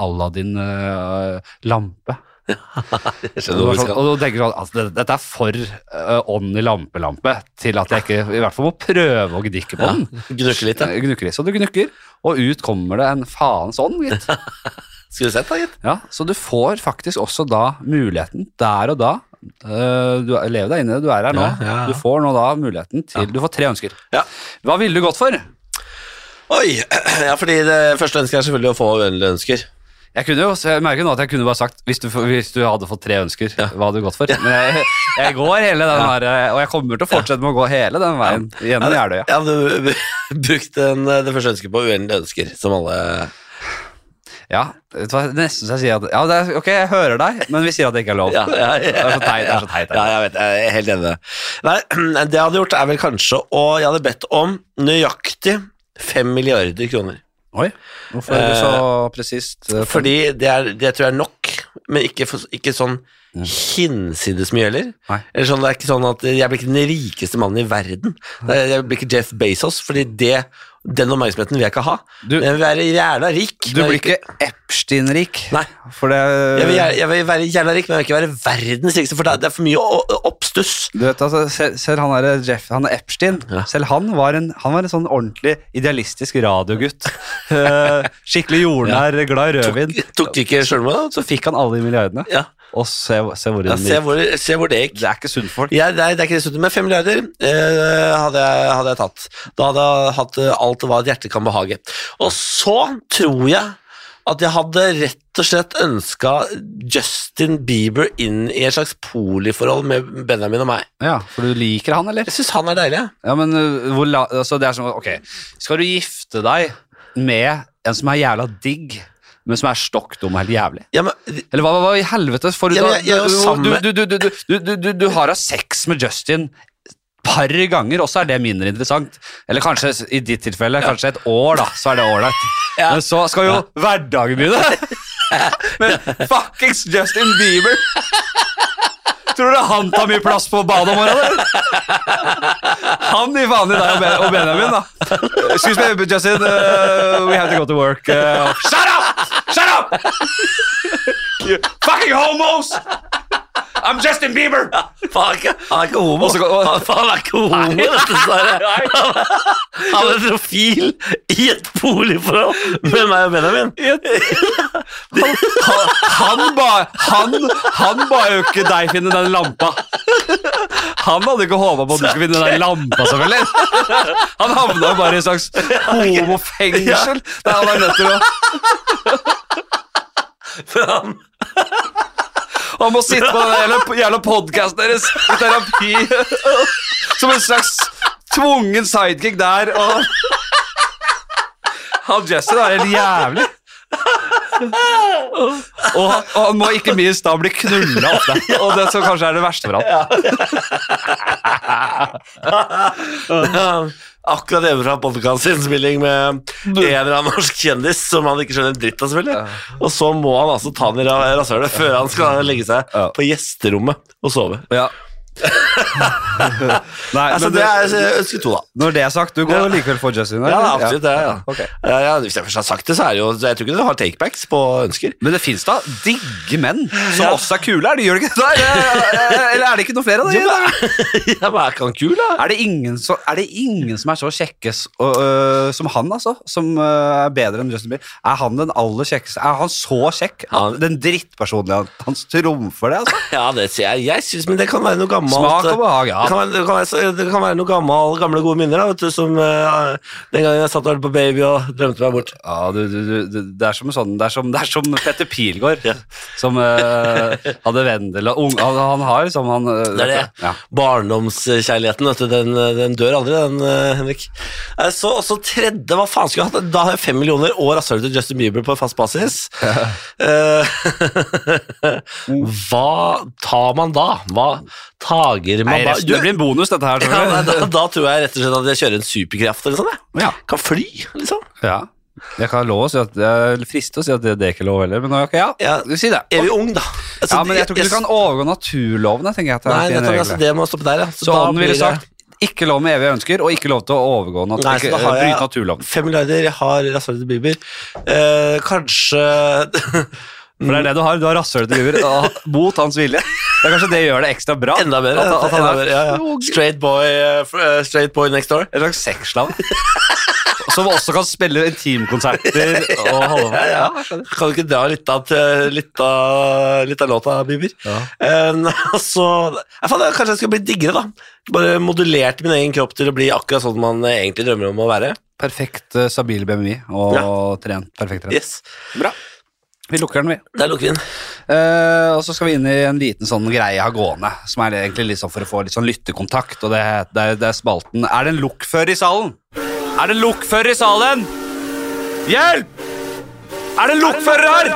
eh, Aladdin-lampe. Jeg Og skjønner du hvor var vi sånn, skal. og du tenker sånn, altså, det- dette er for eh, ånd i lampelampe til at jeg ikke i hvert fall må prøve å gnikke på Ja, den. Gnukke litt, ja. Eh, Gnukker i. Så du gnukker, og ut kommer det en faens ånd, gitt. Skulle du sett, da, gitt. Ja, så du får faktisk også da muligheten der og da øh, Du er- lever deg inne, du er her nå. Ja, ja, ja. Du får nå da muligheten til Du får tre ønsker. Ja. Hva ville du gått for? Oi! (clears throat) Ja, fordi det første ønsket er selvfølgelig å få uendelige ønsker. Jeg kunne jo, så jeg merker nå at jeg kunne bare sagt hvis du, hvis du hadde fått tre ønsker, hva hadde du gått for? Men jeg, jeg går hele den her, eh, og jeg kommer til å fortsette med å gå hele den veien gjennom Jeløya. Ja, du brukte en, det første ønsket på uendelige ønsker, som alle Ja, vet du hva, nesten så jeg sier at ja, det er, ok, jeg hører deg, men vi sier at det ikke er lov. Ja, ja, ja. Det er så teit, det er så teit. det Ja, er. jeg vet, jeg er helt enig. Nei, (clears throat) det jeg hadde gjort, er vel kanskje å Jeg hadde bedt om nøyaktig fem milliarder kroner. Oi, hvorfor er du så presist? øh, på- Eh, Fordi det, er, det tror jeg er nok, men ikke, for, ikke sånn hinsides mye heller. Nei. Eller sånn, det er ikke sånn at Jeg blir ikke den rikeste mannen i verden. Det er- Jeg blir ikke Jeff Bezos, fordi det, den oppmerksomheten vil jeg ikke ha. Du- jeg vil være jævla rik. Du men jeg blir vil ikke Epstein-rik? Nei. For det jeg vil, gjerne- jeg vil være jævla rik, men jeg vil ikke være verdens rikeste, for det er- det er for mye å- å- oppstuss. Du vet, altså, selv, selv han der Jeff, han er Epstein, Ja. selv han var, en, han var en sånn ordentlig idealistisk radiogutt. (laughs) Eh, Skikkelig jordnær, glad i rødvin. Tok de ikke sjølmord, da? Så fikk han alle de milliardene. Ja. og se, se hvor Ja, den se, gikk. hvor, se hvor det gikk. Det er ikke sunt folk. Ja, nei, det er ikke det, men fem milliarder eh, hadde, jeg, hadde jeg tatt. Da hadde jeg hatt eh, alt hva et hjerte kan behage. Og så tror jeg at jeg hadde rett og slett ønska Justin Bieber inn i et slags poliforhold med Benjamin og meg. Ja, For du liker han, eller? Jeg syns han er deilig. jeg. Ja, men uh, hvor la, altså, det er sånn, ok, Skal du gifte deg med en som er jævla digg, men som er stokk dum og helt jævlig? Ja, men, Eller hva, hva i helvete? For du, Ja, men jeg- jeg er jo da, sammen du, med- du, du, du, du, du, du, du, du har hatt sex med Justin par ganger, og så er det mindre interessant. Eller kanskje i ditt tilfelle, kanskje et år, da, så er det ålreit. (laughs) Ja. Men så skal jo hverdagen (laughs) begynne. Men fuckings Justin Bieber! Tror du han tar mye plass på badet om morgenen? Han gir faen i deg og Ben- og Benjamin, da. Excuse me, Justin. Uh, we have to go to work. Uh, shut up! Shut up! You fucking homos! I'm Justin Bieber! faen, han er ikke- han er ikke homo. Og så går- og- Faen, han er ikke homo, dette Sverre. Han er profil i et boligforhold med meg og Benjamin. Han, han, ba, han, han ba jo ikke deg finne den lampa. Han hadde ikke håpa på at du skulle finne den lampa, selvfølgelig. Han havna jo bare i et slags homofengsel. Der han er nødt til å (laughs) For han Han må sitte på den jævla, jævla podkasten deres i terapi som en slags tvungen sidekick der. Og han Justin er helt jævlig. Og han, og han må ikke minst da bli knulla ofte, og det som kanskje er det verste for han. Ja, Akkurat hjemme fra podkastinnspilling med en eller annen norsk kjendis som han ikke skjønner en dritt av, selvfølgelig. Og så må han altså ta den i ra- rasshølet før han skal legge seg Ja. på gjesterommet og sove. Ja. Nei, men Altså, det det, er eh, ønske to, da. når det er sagt, du går likevel for Justin? Ja, eller? absolutt. Det, ja. Ok. Ja, ja, hvis jeg først har sagt det, så er det jo Jeg tror ikke du har takebacks på ønsker. (laughs) Men det fins da digge menn som Ja. også er kule, er det, gjør det ikke? Nei, eller er det ikke noe flere av det? Ja, men er ikke han kul, da? Er det ingen som er, det ingen som er så kjekke s- og, øh, som han, altså? Som øh, er bedre enn Justin Bieber? Er han den aller kjekkeste? Er han så kjekk? Han- Den drittpersonligheten hans trumfer det, altså? Ja, det sier jeg. Jeg syns Men det kan være noe gammelt. eh, Smak og behag, Det ja. kan, være, det, kan være, det kan være noen gammel, gamle gode minner, da, vet du, som eh, den gangen jeg satt og hørte på Baby og drømte meg bort. ja du, du, du, du, det, er som en sånn, det, er som, det er som Petter Pilgaard, som øh, hadde Vendel og ung, han, han har liksom han, øh, Det er det. Ja. Barndomskjærligheten, vet du, den, den dør aldri, den, eh, Henrik. Eh, Så også tredje, hva faen skulle jeg hatt? Da har jeg fem millioner og rasshølet til Justin Bieber på fast (laughs) basis. Eh, (laughs) hva tar man da? Hva tager man Nei, da? resten, det blir en bonus, dette her. (laughs) ja, nei, Tror da, da tror jeg rett og slett at jeg kjører en superkraft eller sånn, jeg. jeg. Ja. Kan fly, liksom. ja. Jeg kan love å si at, jeg frister å si at det, det er ikke lov heller, men ok, ja. Ja. Si det. Evig ung, da. Altså, ja, men jeg tror ikke du kan overgå naturlovene, tenker jeg. at det er Nei, en nettopp, regel. altså, det må stoppe der, ja. så da han blir ville det- sagt ikke lov med evige ønsker, og ikke lov til å overgå nat Nei, så ikke, da har bryte jeg naturloven. 5 milliarder, jeg har rasshølet til Bieber. Eh, kanskje (laughs) Mm. For det er det du har. Du har rasshølet til Bieber og mot hans vilje. Det er kanskje det gjør det ekstra bra. Enda bedre. At, at han enda er bedre, ja, ja. Straight, boy, eh, fr- eh, straight boy next door. en slags sexslave. Som også kan spille intimkonserter og holde på. Ja, Kan du ikke dra litt av, til- litt av, litt av låta, Bieber? Ja. Eh, (laughs) nei, altså, jeg fant, ut, kanskje jeg skal bli diggere, da. Bare modellert min egen kropp til å bli akkurat sånn man eh, egentlig drømmer om å være. Perfekt eh, stabil BMI og trent. Perfekt trent. Yes, Bra. Vi lukker den, vi. Der lukker vi den. Eh, og så skal vi inn i en liten sånn greie jeg har gående, som er egentlig litt sånn for å få litt sånn lyttekontakt. Og det, det, er, det er spalten Er det en lokfører i salen? Er det en lokfører i salen? Hjelp! Er det en lokfører her?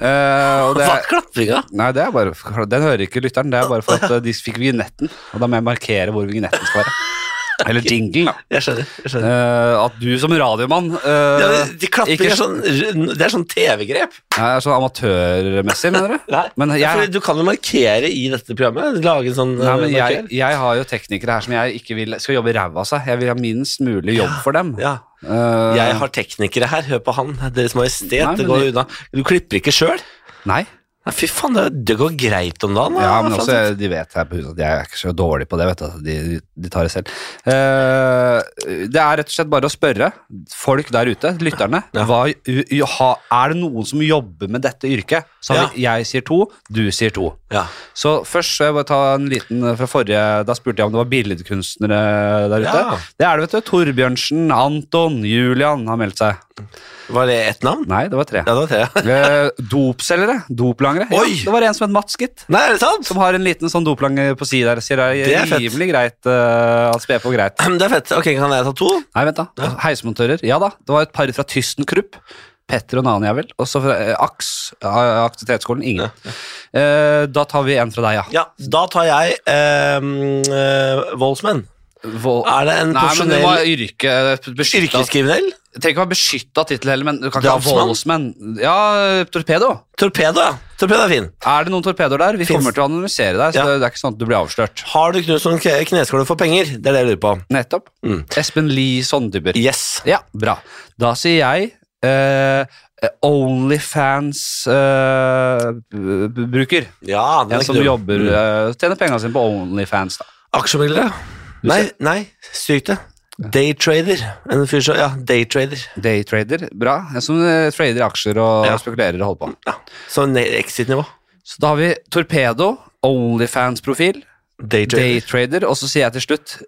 Eh, og det, Hva er klapringa? nei, det er bare for- Den hører ikke lytteren. Det er bare for at eh, de fikk vignetten, og da må jeg markere hvor vignetten skal være. Eller jinglen, da. Jeg skjønner. Jeg skjønner. Eh, at du som radiomann eh, ja, men de klapring ikke- er sånn, det er sånn TV-grep. Nei, er sånn amatørmessig, mener du? Nei, Men jeg- fordi du kan jo markere i dette programmet. Lage en sånn Nei, eh, men jeg, marker. jeg har jo teknikere her som jeg ikke vil skal jobbe ræva av seg. Jeg vil ha minst mulig jobb for dem. Ja. Eh, Jeg har teknikere her, hør på han. Deres Majestet, Nei, men det går de- unna. Du klipper ikke sjøl. Nei. Nei, fy faen, det, det går greit om dagen. da, Ja, men altså, også, Francis. de vet her på huset at jeg er ikke så dårlig på det. vet du. at De, de tar det selv. Eh, det er rett og slett bare å spørre folk der ute, lytterne. Ja. Hva, u- u- ha- er det noen som jobber med dette yrket? Så har vi- jeg sier to, du sier to. ja. Så først skal jeg bare ta en liten eh, fra forrige. Da spurte jeg om det var billedkunstnere der ute. Ja. Det er det, vet du. Torbjørnsen, Anton, Julian har meldt seg. Var det ett navn? Nei, det var tre. Ja, (laughs) det var tre. (laughs) Eh, dopselgere. Doplangere. Ja, Oi! det var en som het Mats, gitt. Nei, er det sant? Som har en liten sånn doplange på siden der. Sier det Det er er fett. rimelig greit eh, at spe på greit. (clears throat) Det er fett. Ok, kan jeg ta to? Nei, vent da. Heismontører. Ja da, det var et par fra Tystenkrupp. Petter og en annen jævel. Og så fra eh, AKS, eh, aktivitetsskolen. Ingen. Eh, da tar vi en fra deg, ja. Ja, da tar jeg ehm, eh, voldsmenn. Vold- Er det en Nei, men det profesjonell var yrke beskytta. yrkeskriminell? Trenger ikke å være beskytta tittel heller, men du kan ikke ha voldsmenn. Drapsmann? Ja, eh, torpedo. Torpedo, ja. Torpedo er fin. Er det noen torpedoer der? Vi Finns- kommer til å analysere deg, så Ja. det- det er ikke sånn at du blir avslørt. Har du knust noen kne- kneskåler for penger? Det er det jeg lurer på. Nettopp. Mm. Espen Lie Sondyber. Yes. Ja, bra. Da sier jeg eh, Onlyfans-bruker. Ja, den eh, en er som ikke Mm. dum. jobber eh, Tjener pengene sine på Onlyfans, da. Aksjemeglere? Nei, nei, stryk det. Daytrader. En fyr som Ja, daytrader. Daytrader. Bra. En som eh, trader aksjer og Ja. spekulerer og holder på. Ja. Sånn ne- exit-nivå. Så da har vi Torpedo, Onlyfans-profil, Daytrader. Daytrader, og så sier jeg til slutt,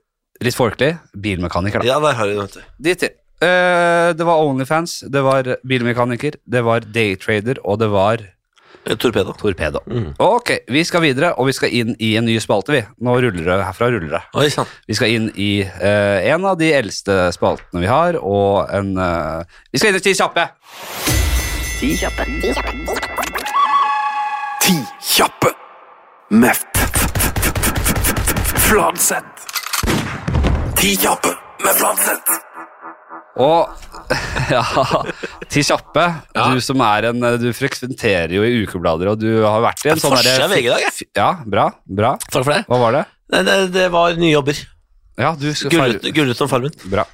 litt folkelig, bilmekaniker, da. Ja, der har du den, vet du. De tre. Eh, det var Onlyfans, det var bilmekaniker, det var Daytrader, og det var Eh, Torpedo. Torpedo. Mm. Ok, vi skal videre, og vi skal inn i en ny spalte, vi. Nå ruller det herfra. ruller det. Oi sann. Vi skal inn i eh, en av de eldste spaltene vi har, og en eh, Vi skal inn i Ti kjappe! Ti kjappe. Ti kjappe. Ti kjappe med f- f- f- f- Fladseth. Ti kjappe med Fladseth. Og (laughs) ja, Ti kjappe. Du som er en eh, Du frekventerer jo i ukeblader, og du har vært i en sånn Forskjell er derre VG i dag, jeg. Ja, bra. Bra. Takk for det. Hva var det? Nei, det, det var nye jobber. Ja, du skal Gullet, gullet om farmen. Bra.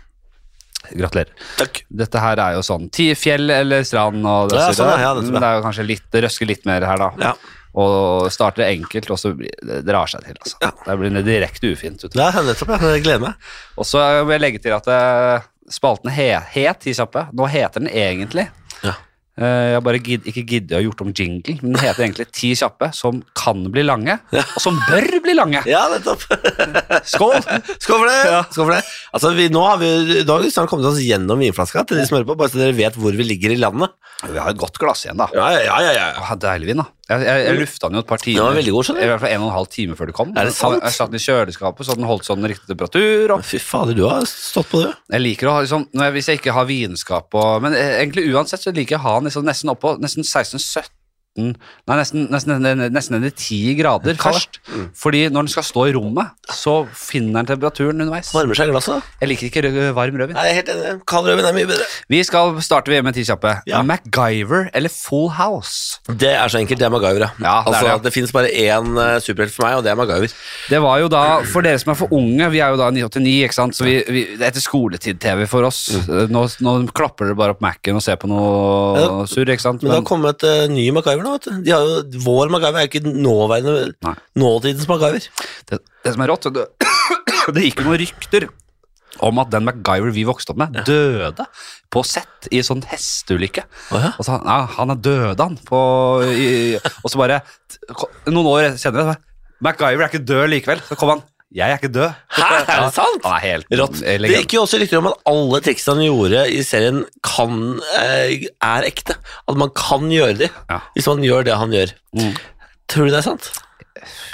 Gratulerer. Takk. Dette her er jo sånn ti fjell eller strand og det, Ja, sier sånn, det. ja, det tror jeg. Men det er jo kanskje litt, det røsker litt mer her da. Ja. Og starter enkelt, og så blir, det drar seg til. Altså. Det blir det direkte ufint. Ut. Ja, nettopp. ja. Jeg gleder meg. Og så vil jeg legge til at eh, spalten he, het Ti kjappe. Nå heter den egentlig Ja. eh, Jeg bare gidd, ikke gidder å ha gjort om jingle, men den heter egentlig Ti kjappe som kan bli lange, og som bør bli lange. Ja, nettopp. Skål! Skål for det! Skål for det. Altså, vi, nå har vi, da har vi snart kommet oss gjennom vinflaska til de som hører på, bare så dere vet hvor vi ligger i landet. Vi har et godt glass igjen, da. Ja, ja, ja, ja. Ah, deilig vin, da. Jeg, jeg, jeg lufta den jo et par timer. Den var veldig god, skjønner du. I hvert fall en og en halv time før du kom. Er det sant? Og Jeg satt den i kjøleskapet, så den holdt sånn riktig temperatur. Og Fy fader, du har stått på det. jeg liker å ha liksom, når jeg, Hvis jeg ikke har vinskap og Men eh, egentlig uansett så liker jeg å ha den liksom nesten oppå nesten 16-17 Nei, nesten, nesten, nesten, nesten ned i 10 grader Kall det. først. Fordi når den skal stå i rommet, så finner den temperaturen underveis. Varmer seg i glasset. da. Jeg liker ikke rød- varm rødvin. Nei, jeg er helt enig. Kald rødvin er mye bedre. Vi skal starte vi med ti kjappe. Ja. MacGyver eller Full House? Det er så enkelt, det er MacGyver, Ja, det er altså, det, ja. det finnes bare én eh, superhelt for meg, og det er MacGyver. Det var jo da, for dere som er for unge, vi er jo da 989, ikke sant? Så vi, vi, det heter skoletid-TV for oss. Nå, nå klapper dere bare opp Mac-en og ser på noe Mm. Ja. surr, ikke sant? Men det har Men- kommet eh, ny MacGyver nå, vet du. De har jo, vår MacGyver er jo ikke nåværende, Nei. nåtidens MacGyver. det, det som er rått, det, (coughs) det gikk jo noen rykter om at den MacGyver vi vokste opp med, døde på sett i en sånn hesteulykke. Åja. Og så han, ja, han er død, han. På, i, og så bare t- Noen år senere så bare, MacGyver er ikke død likevel. Så kom han. Jeg er ikke død. Hæ, er det Ja, sant? Han er helt Rått. eh, Det legende. gikk jo også rykter om at alle triksene han gjorde i serien, kan, eh, er ekte. At man kan gjøre de, Ja. hvis man gjør det han gjør. Mm. Tror du det er sant?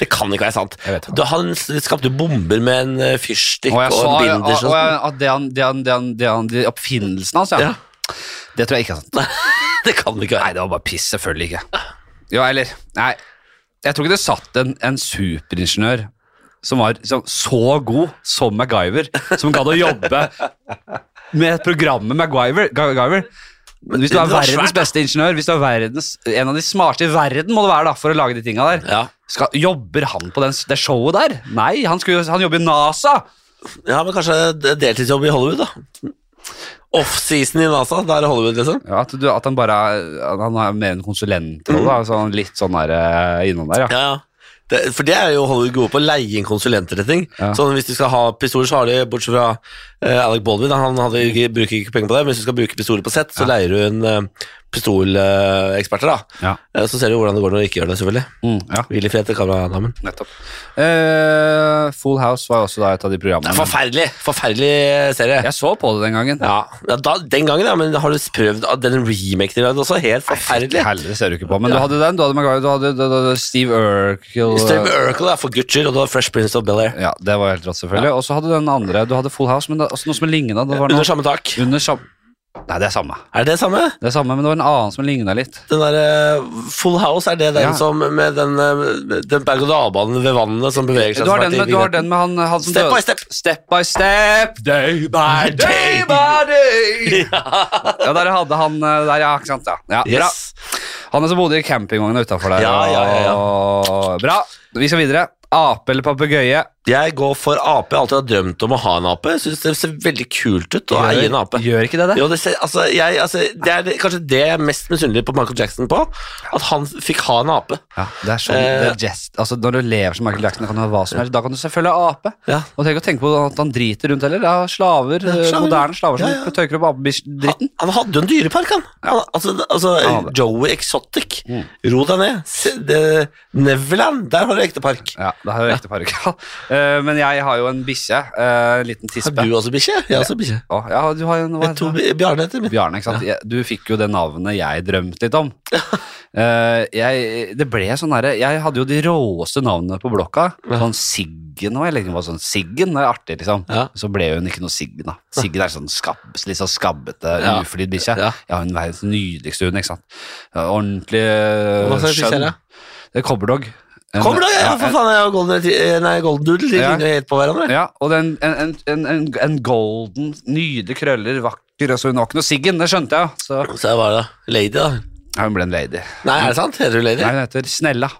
Det kan ikke være sant. Jeg vet ikke. Da han s- skapte bomber med en eh, fyrstikk Og og, jeg sa en sånn. og, binders. og Og, jeg, at det han, det han, det han, det han de Oppfinnelsen hans, ja. Ja. Det tror jeg ikke er sant. sånt. (laughs) det kan det ikke Nei, være. det var bare piss. Selvfølgelig ikke. Jo, eller Nei. Jeg tror ikke det satt en, en superingeniør som var som, så god som MacGyver, som gadd å jobbe med programmet MacGyver. Ga- MacGyver. Men Hvis du er Det var verdens svært, da. beste ingeniør, hvis du er verdens, en av de smarteste i verden må du være da, for å lage de tinga der, Ja. skal, jobber han på den, det showet der? Nei, han, skulle, han jobber i NASA! ja, men kanskje det er deltidsjobb i Hollywood, da. Offseason i NASA, da er det Hollywood, liksom. Ja, at, du, at han bare er, at han er mer en konsulentrolle. da, så han er litt sånn der, eh, innom der, ja. Ja, ja. Det, for det er jo Hollywood gode på å leie inn konsulenter til ting. Ja. Sånn hvis du skal ha pistoler, så har de, bortsett fra eh, Alec Baldwin, han hadde jo ikke, bruker ikke penger på det, men hvis du skal bruke pistoler på sett, så leier du en uh, pistoleksperter, da. Ja. Eh, Så ser du hvordan det går når du ikke gjør det, selvfølgelig. Mm, ja. Hvil i fred til kameradamen. Nettopp. Eh, Full House var også da et av de Det programmene. er forferdelig, forferdelig serie. Jeg så på det den gangen. Ja, ja da, Den gangen, ja, men har du prøvd ah, den remaken de lagde også? Helt forferdelig. Helvete, det ser du ikke på. Men du hadde den, du hadde Maguire, du hadde, du hadde Steve Urkel Steve Urkel er for Gucci, og du har Fresh Prince of Bel-Air. Ja, det var helt rått, selvfølgelig. Og så hadde du den andre. Du hadde Full House, men det, også noe som ligna. Det var noe Under samme tak. under sam... Nei, det er samme. Er det det samme? Det er samme, men det var en annen som ligna litt. Den der, eh, Full House, er det den Ja. som med den, eh, den berg-og-dal-banen ved vannet som beveger seg? Du har som er den med, du til- har den med han, han som Step by døde. step! Step by step, day by day. day by (laughs) day. Ja, der hadde han eh, der, ja. Ikke sant, ja. ja bra. Yes. Han er som bodde i campingvogna utafor der. Ja, ja, ja, ja. og- Bra. Vi skal videre. Ape eller papegøye? Jeg går for ape. Jeg har alltid har drømt om å ha en ape. Jeg synes det ser veldig kult ut å eie en ape. Gjør ikke det det? Jo, det, ser, altså, jeg, altså, det er det- kanskje det jeg er mest misunnelig på Michael Jackson på. At han fikk ha en ape. Ja, det er sånn, Eh. det er jest. Altså, Når du lever som Michael Jackson, kan du ha hva som helst. Da kan du selvfølgelig ha ape. Ja. Og tenk å tenke på at han driter rundt heller. Det er slaver, eh, slaver. moderne slaver som Ja, ja. tørker opp apedritten. Han hadde jo en dyrepark, han. han altså, altså, Han hadde. Mm. Joey Exotic. Ro deg ned. Se- det- Neverland, der har du ekte park. Ja, det er jo ekte park. (laughs) Eh, men jeg har jo en bikkje. eh, En liten tispe. Har du også bikkje? Jeg har også bikkje. Å, ja, du har jo en, hva Jeg heter tror det? Bjarne heter min. Bjarne, ikke sant? Jeg- Du fikk jo det navnet jeg drømte litt om. Eh, jeg, det ble sånn derre Jeg hadde jo de råeste navnene på blokka. Sånn Siggen og jeg liksom var sånn Siggen det er artig, liksom. Ja. Så ble hun ikke noe Siggen, da. Siggen er sånn skabb, litt sånn skabbete, Ja. uflidd bikkje. Ja. Ja. hun er verdens nydeligste hund, ikke sant. Ja, Ordentlig eh, Hva slags bikkje er det? Det er Cobberdog. En- Kommer da, ja, for en- faen, jeg har golden, retrie- nei, golden doodle, de Ja. ligner jo helt på hverandre. Ja, og det er en, en, en, en, en golden, nydelige krøller, vakker altså Hun var ikke noe Siggen, det skjønte jeg. Så Så jeg var da, lady da. ja, hun ble en lady. Nei, er det sant? Heter du lady? Nei, hun heter Snella.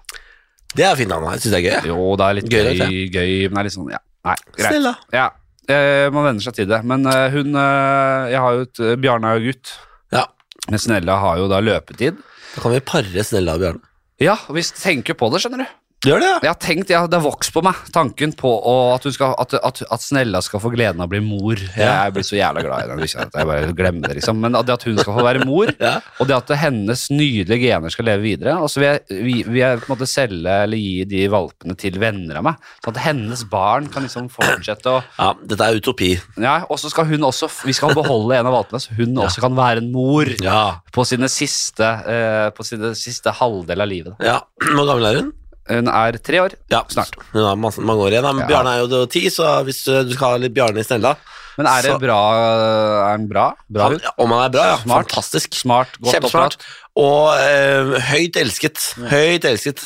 Det er fint navn, jeg synes det er gøy. Jo, det er litt Gøy, gøy, vet gøy, men det er litt sånn, ja. Nei, greit. Snella. Ja, eh, man venner seg til det. Men eh, hun, eh, jeg har jo et, Bjarne er jo gutt, Ja, men Snella har jo da løpetid. da kan vi parre Snella og Bjarne. Ja, og vi tenker på det, skjønner du. Gjør det, ja. Jeg har tenkt, ja, det har vokst på meg, tanken på å, at, hun skal, at, at, at Snella skal få gleden av å bli mor. Jeg blir så jævla glad i den bikkja. at Jeg bare glemmer det, liksom. Men at- det at hun skal få være mor, Ja. og det at hennes nydelige gener skal leve videre Og så vil jeg, vi, vil jeg på en måte selge eller gi de valpene til venner av meg, sånn at hennes barn kan liksom fortsette å Ja, dette er utopi. Ja, og så skal hun også Vi skal beholde en av valpene, så hun også kan være en mor Ja. på sine siste, eh, på sine siste halvdel av livet. Ja, hvor gammel er hun? Hun er tre år Ja, snart. Hun har masse, mange år igjen, da, Ja. men Bjarne er jo da ti, så hvis eh, du skal ha litt Bjarne i Snella, Men er det Så- bra Er den bra? bra han, hund? om han er bra, ja, Smart. fantastisk. Smart, godt Kjempesmart. oppdratt. Og eh, høyt elsket. Høyt elsket.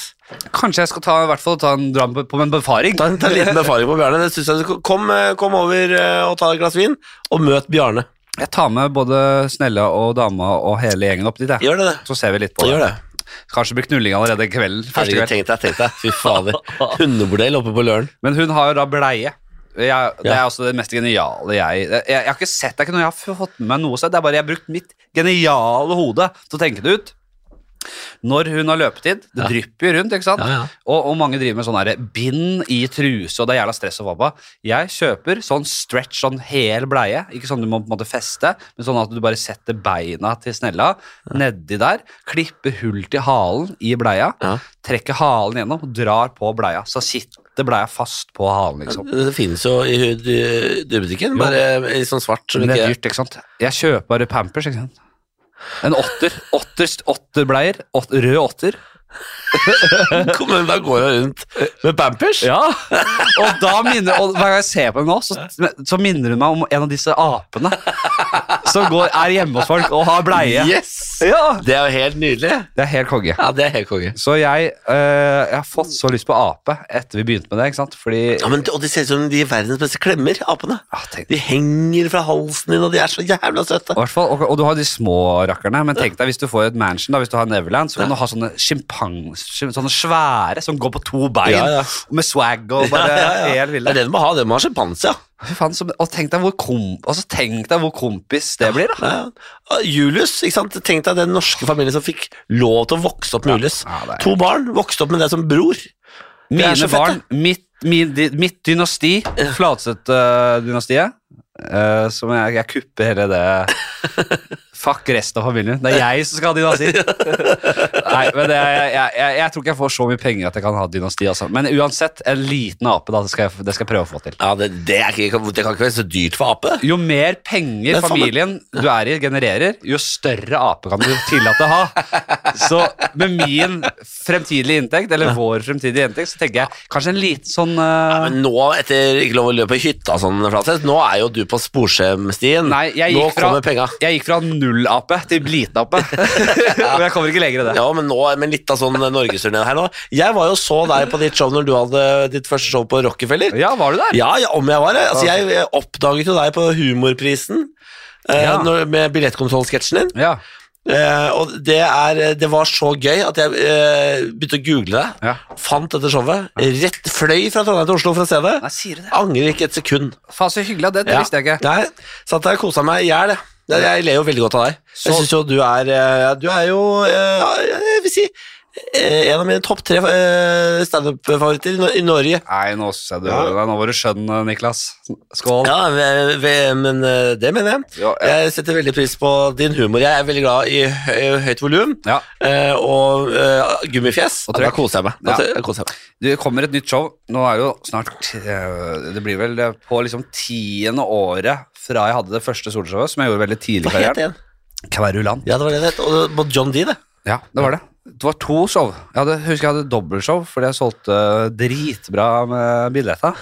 Kanskje jeg skal ta, i hvert fall ta en dram på, på en befaring? Ta, ta en liten befaring på Bjarne. Det synes jeg, du- kom, eh, kom over eh, og ta et glass vin, og møt Bjarne. Jeg tar med både Snella og dama og hele gjengen opp dit. jeg. Gjør det, det. Så ser vi litt på Gjør det. det. Kanskje blir knulling allerede kvelden. første Herregud, kveld. tenk deg, tenk deg. Fy fader. Hundebordell oppe på Løren. Men hun har jo da bleie. Jeg, det er Ja. også det mest geniale jeg Jeg, jeg har ikke sett det, er ikke noe jeg har fått med meg noe sted. Det er bare jeg har brukt mitt geniale hode til å tenke det ut. Når hun har løpetid, det drypper jo rundt, ikke sant? Ja, ja. Og, og mange driver med sånn herre bind i truse, og det er jævla stress og vabba. Jeg kjøper sånn stretch, sånn hel bleie, ikke sånn du må på en måte feste, men sånn at du bare setter beina til snella nedi der, klipper hull til halen i bleia, Ja. trekker halen gjennom og drar på bleia. Så sitter bleia fast på halen, liksom. Det finnes jo i hu- dy- dyrebutikken, bare i sånn svart. Som Men det er ikke, dyrt, ikke sant? Jeg kjøper bare Pampers, ikke sant? En åtter. Åtters, åtterbleier. Åt, rød åtter. (laughs) Kom, men da går jeg rundt med Pampers. Ja! (laughs) Og da minner, og hver gang jeg ser på henne nå, så, så minner hun meg om en av disse apene som går, er hjemme hos folk og har bleie. Yes! Ja! Det er jo helt nydelig. Det er helt konge. Ja, det er helt konge. Så jeg, eh, jeg har fått så lyst på ape etter vi begynte med det, ikke sant? Fordi Ja, men, og de ser ut som de er verdens beste klemmer, apene. ah, tenk, De henger fra halsen din, og de er så jævla søte. I hvert fall, og, og du har de små rakkerne, men tenk deg hvis du får et mansion, da, hvis du har Neverland, så kan du ha sånne sjimpans, sånne svære som går på to bein, Ja, ja. med swag og bare Ja, ja, ja. helt Det ville. er det du må ha. Det må ha sjimpanse, ja. Fy faen, som, og tenk deg, hvor kom, altså, tenk deg hvor kompis det blir, da. Ja. Og Ah, Julius, ikke sant? Tenk deg den norske familien som fikk lov til å vokse opp med Julius. Ja, det er- To barn vokste opp med deg som bror. Det er Mine så fett, barn, mitt, min, di- mitt dynasti, eh, Flatseth-dynastiet eh, Som jeg, jeg kupper hele det (laughs) Fuck resten av familien. Det er jeg som skal ha dynasti. (laughs) Nei, men det, er- jeg, jeg, jeg, jeg tror ikke jeg får så mye penger at jeg kan ha dynasti. Altså. Men uansett, en liten ape, da, det skal jeg, det skal jeg prøve å få til. Ja, det, det, er ikke, det kan ikke være så dyrt for ape. Jo mer penger Men faen, familien du er i, genererer, jo større ape kan du tillate å ha. Så med min fremtidige inntekt, eller vår fremtidige inntekt, så tenker jeg kanskje en liten sånn eh, Men nå, etter ikke lov å løpe i hytta, sånn, Flatseth, nå er jo du på sporskjemstien. Nei, jeg Nå gikk fra, kommer penga. jeg gikk fra null-ape til (laughs) (laughs) bliten-ape. Og jeg kommer ikke lenger i det. Ja, men nå, men litt av sånn norgesturné her nå. Jeg var jo så deg på ditt show når du hadde ditt første show på Rockefeller. Ja, var du der? Ja, ja, om jeg var det. Altså, jeg eh, oppdaget jo deg på Humorprisen. eh, Ja. når, med billettkontrollsketsjen din. Ja. Eh, og det, er, eh, det var så gøy at jeg eh, begynte å google det. Ja. Fant dette showet. Rett fløy fra Trondheim til Oslo for å se det. Nei, sier du det? Angrer ikke et sekund. Faen, så hyggelig av det. Det visste jeg ikke. Nei, Satt der og kosa meg i hjel. jeg. Jeg jeg ler jo veldig godt av deg. Så- Jeg syns jo du er eh, Du er jo eh, Jeg vil si eh, en av mine topp tre eh, standup-favoritter i Nor- i Norge. Nei, nå synes jeg du Ja. Nei, Nå var du skjønn, Niklas. Skål. Ja, ve- ve- men eh, det mener jeg. Ja, ja. Jeg setter veldig pris på din humor. Jeg er veldig glad i hø- høyt volum Ja. eh, og eh, gummifjes. Og Og trøkk. da koser jeg meg. Da Ja. t- koser jeg meg. Det kommer et nytt show. Nå er det jo snart eh, Det blir vel eh, på liksom tiende året fra jeg hadde det første soloshowet, som jeg gjorde veldig tidlig i Hva het det karrieren. igjen? Kverulant. Ja, det var det det het. Og det var John D, det. Ja, det var det. Det var to show. Jeg hadde, husker jeg hadde dobbeltshow fordi jeg solgte dritbra med billetter.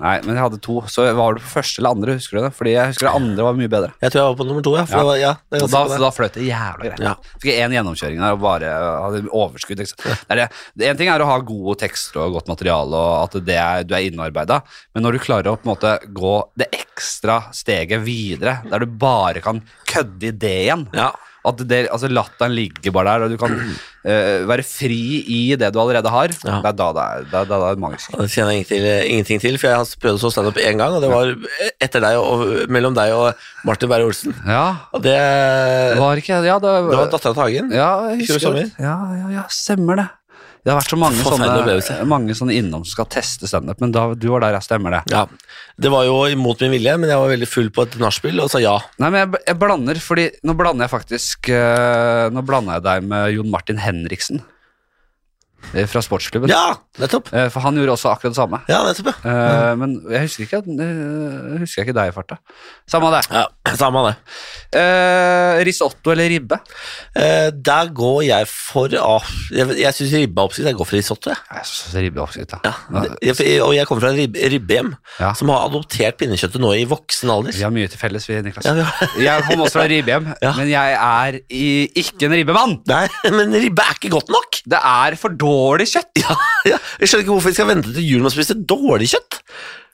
Nei, men jeg hadde to. Så var du på første eller andre, husker du det? Fordi jeg husker det andre var mye bedre. Jeg tror jeg var på nummer to, ja. For Ja. Det var, ja det er Og ganske da, på det. så da fløt det jævla greit. Ja. Fikk jeg én gjennomkjøring der og bare hadde overskudd. Ikke? sant? Det er det. Det en ting er å ha gode tekster og godt materiale, og at det er, du er innarbeida, men når du klarer å på en måte gå det ekstra steget videre, der du bare kan kødde i det igjen Ja. at det, altså Latteren ligger bare der, og du kan eh, være fri i det du allerede har. Ja. Det er da det er, det er, da det er magisk. Det kjenner jeg ingenting til, ingenting til, for jeg har prøvd å stå standup én gang, og det var etter deg og mellom deg og Martin Beyer-Olsen. Ja, Og det, det det var ikke Ja, det, var dattera til Hagen. Ja, jeg Husker du husker det. Ja, ja, ja, stemmer det. Det har vært så mange Forferdelig sånne, opplevelse. mange sånne innom som skal teste standup, men da, du var der, ja, stemmer det. Ja. Det var jo imot min vilje, men jeg var veldig full på et nachspiel og sa ja. Nei, men jeg, jeg blander, fordi nå blander jeg faktisk eh, Nå blander jeg deg med Jon Martin Henriksen eh, fra sportsklubben. Ja, nettopp. Eh, For han gjorde også akkurat det samme. Ja, nettopp, ja. Eh, Men jeg husker ikke, at- eh, husker jeg ikke deg i farta. Samme det. ja samme det. Eh, risotto eller ribbe? Eh, der går jeg for ah, Jeg, jeg syns ribbe er oppskrytt. Jeg går for risotto. Jeg. Jeg synes ribbe er oppskrytt, da. Det- jeg. Og jeg kommer fra en ribbe, ribbehjem Ja. som har adoptert pinnekjøttet nå i voksen alder. Vi har mye til felles, vi, Niklas. Ja, vi har- (laughs) Jeg kom også fra ribbehjem, Ja. men jeg er i, ikke en ribbemann. Nei, men ribbe er ikke godt nok! (laughs) Det er for dårlig kjøtt. Ja, ja. Jeg skjønner ikke hvorfor vi skal vente til jul med å spise dårlig kjøtt.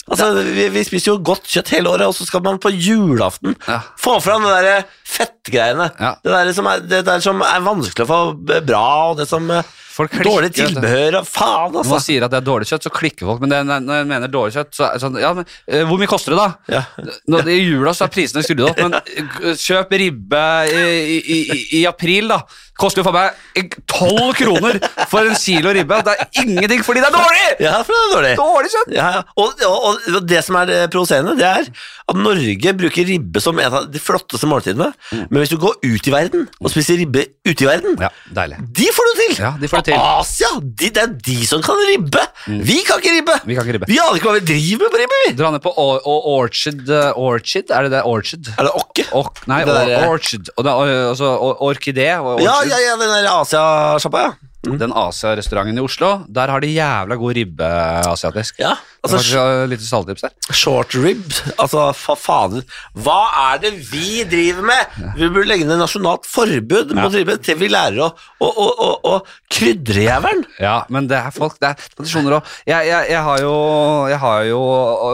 Altså, vi, vi spiser jo godt kjøtt hele året, og så skal man på julaften Ja. få fram det derre fettgreiene. Ja. Det, der som er, det der som er vanskelig å få bra, og det som eh, Folk klikker, altså. Dårlig vet du. tilbehør og faen, Når man altså. sier at det er dårlig kjøtt, så klikker folk. Men det, er- når jeg mener dårlig kjøtt, så er det sånn Ja, men eh, hvor mye koster det, da? Ja. Nå, I jula så er prisene skrudd opp, men eh, kjøp ribbe i, i, i, i april, da. Koster jo for meg tolv kroner for en kilo ribbe. Det er ingenting fordi det er dårlig! Ja, for det er dårlig. Dårlig kjøtt! Ja, ja. Og, og, og det som er eh, provoserende, det er at Norge bruker ribbe som en av de flotteste måltidene. Men hvis du går ut i verden og spiser ribbe ute i verden, Mm. Ja, deilig. De får det til! Ja, de får det til. Mm. Asia, de, det er de som kan ribbe! Vi kan ikke ribbe! Vi kan ikke ribbe. Vi aner ikke hva vi driver med på ribbe, vi! Dra ned på or or orchid, eh, orchid Er det det? Orchid? Er det okke? Ok, nei, Det or der, eh, orchid. Og det, er, altså, or orkidé og orchid. Ja, ja, ja, den der Asia-sjappa, ja. Den Asia-restauranten i Oslo, der har de jævla god ribbe asiatisk. ja. Det er Altså, faktisk, eh, litt saltips der. sh- short rib Altså, fa fader. Hva er det vi driver med? Vi burde legge ned nasjonalt forbud mot ribbe til vi lærer å, å, å, å, å krydre jævelen. Ja, men det er folk, det er tradisjoner òg. Jeg, jeg, jeg har jo, jeg har jo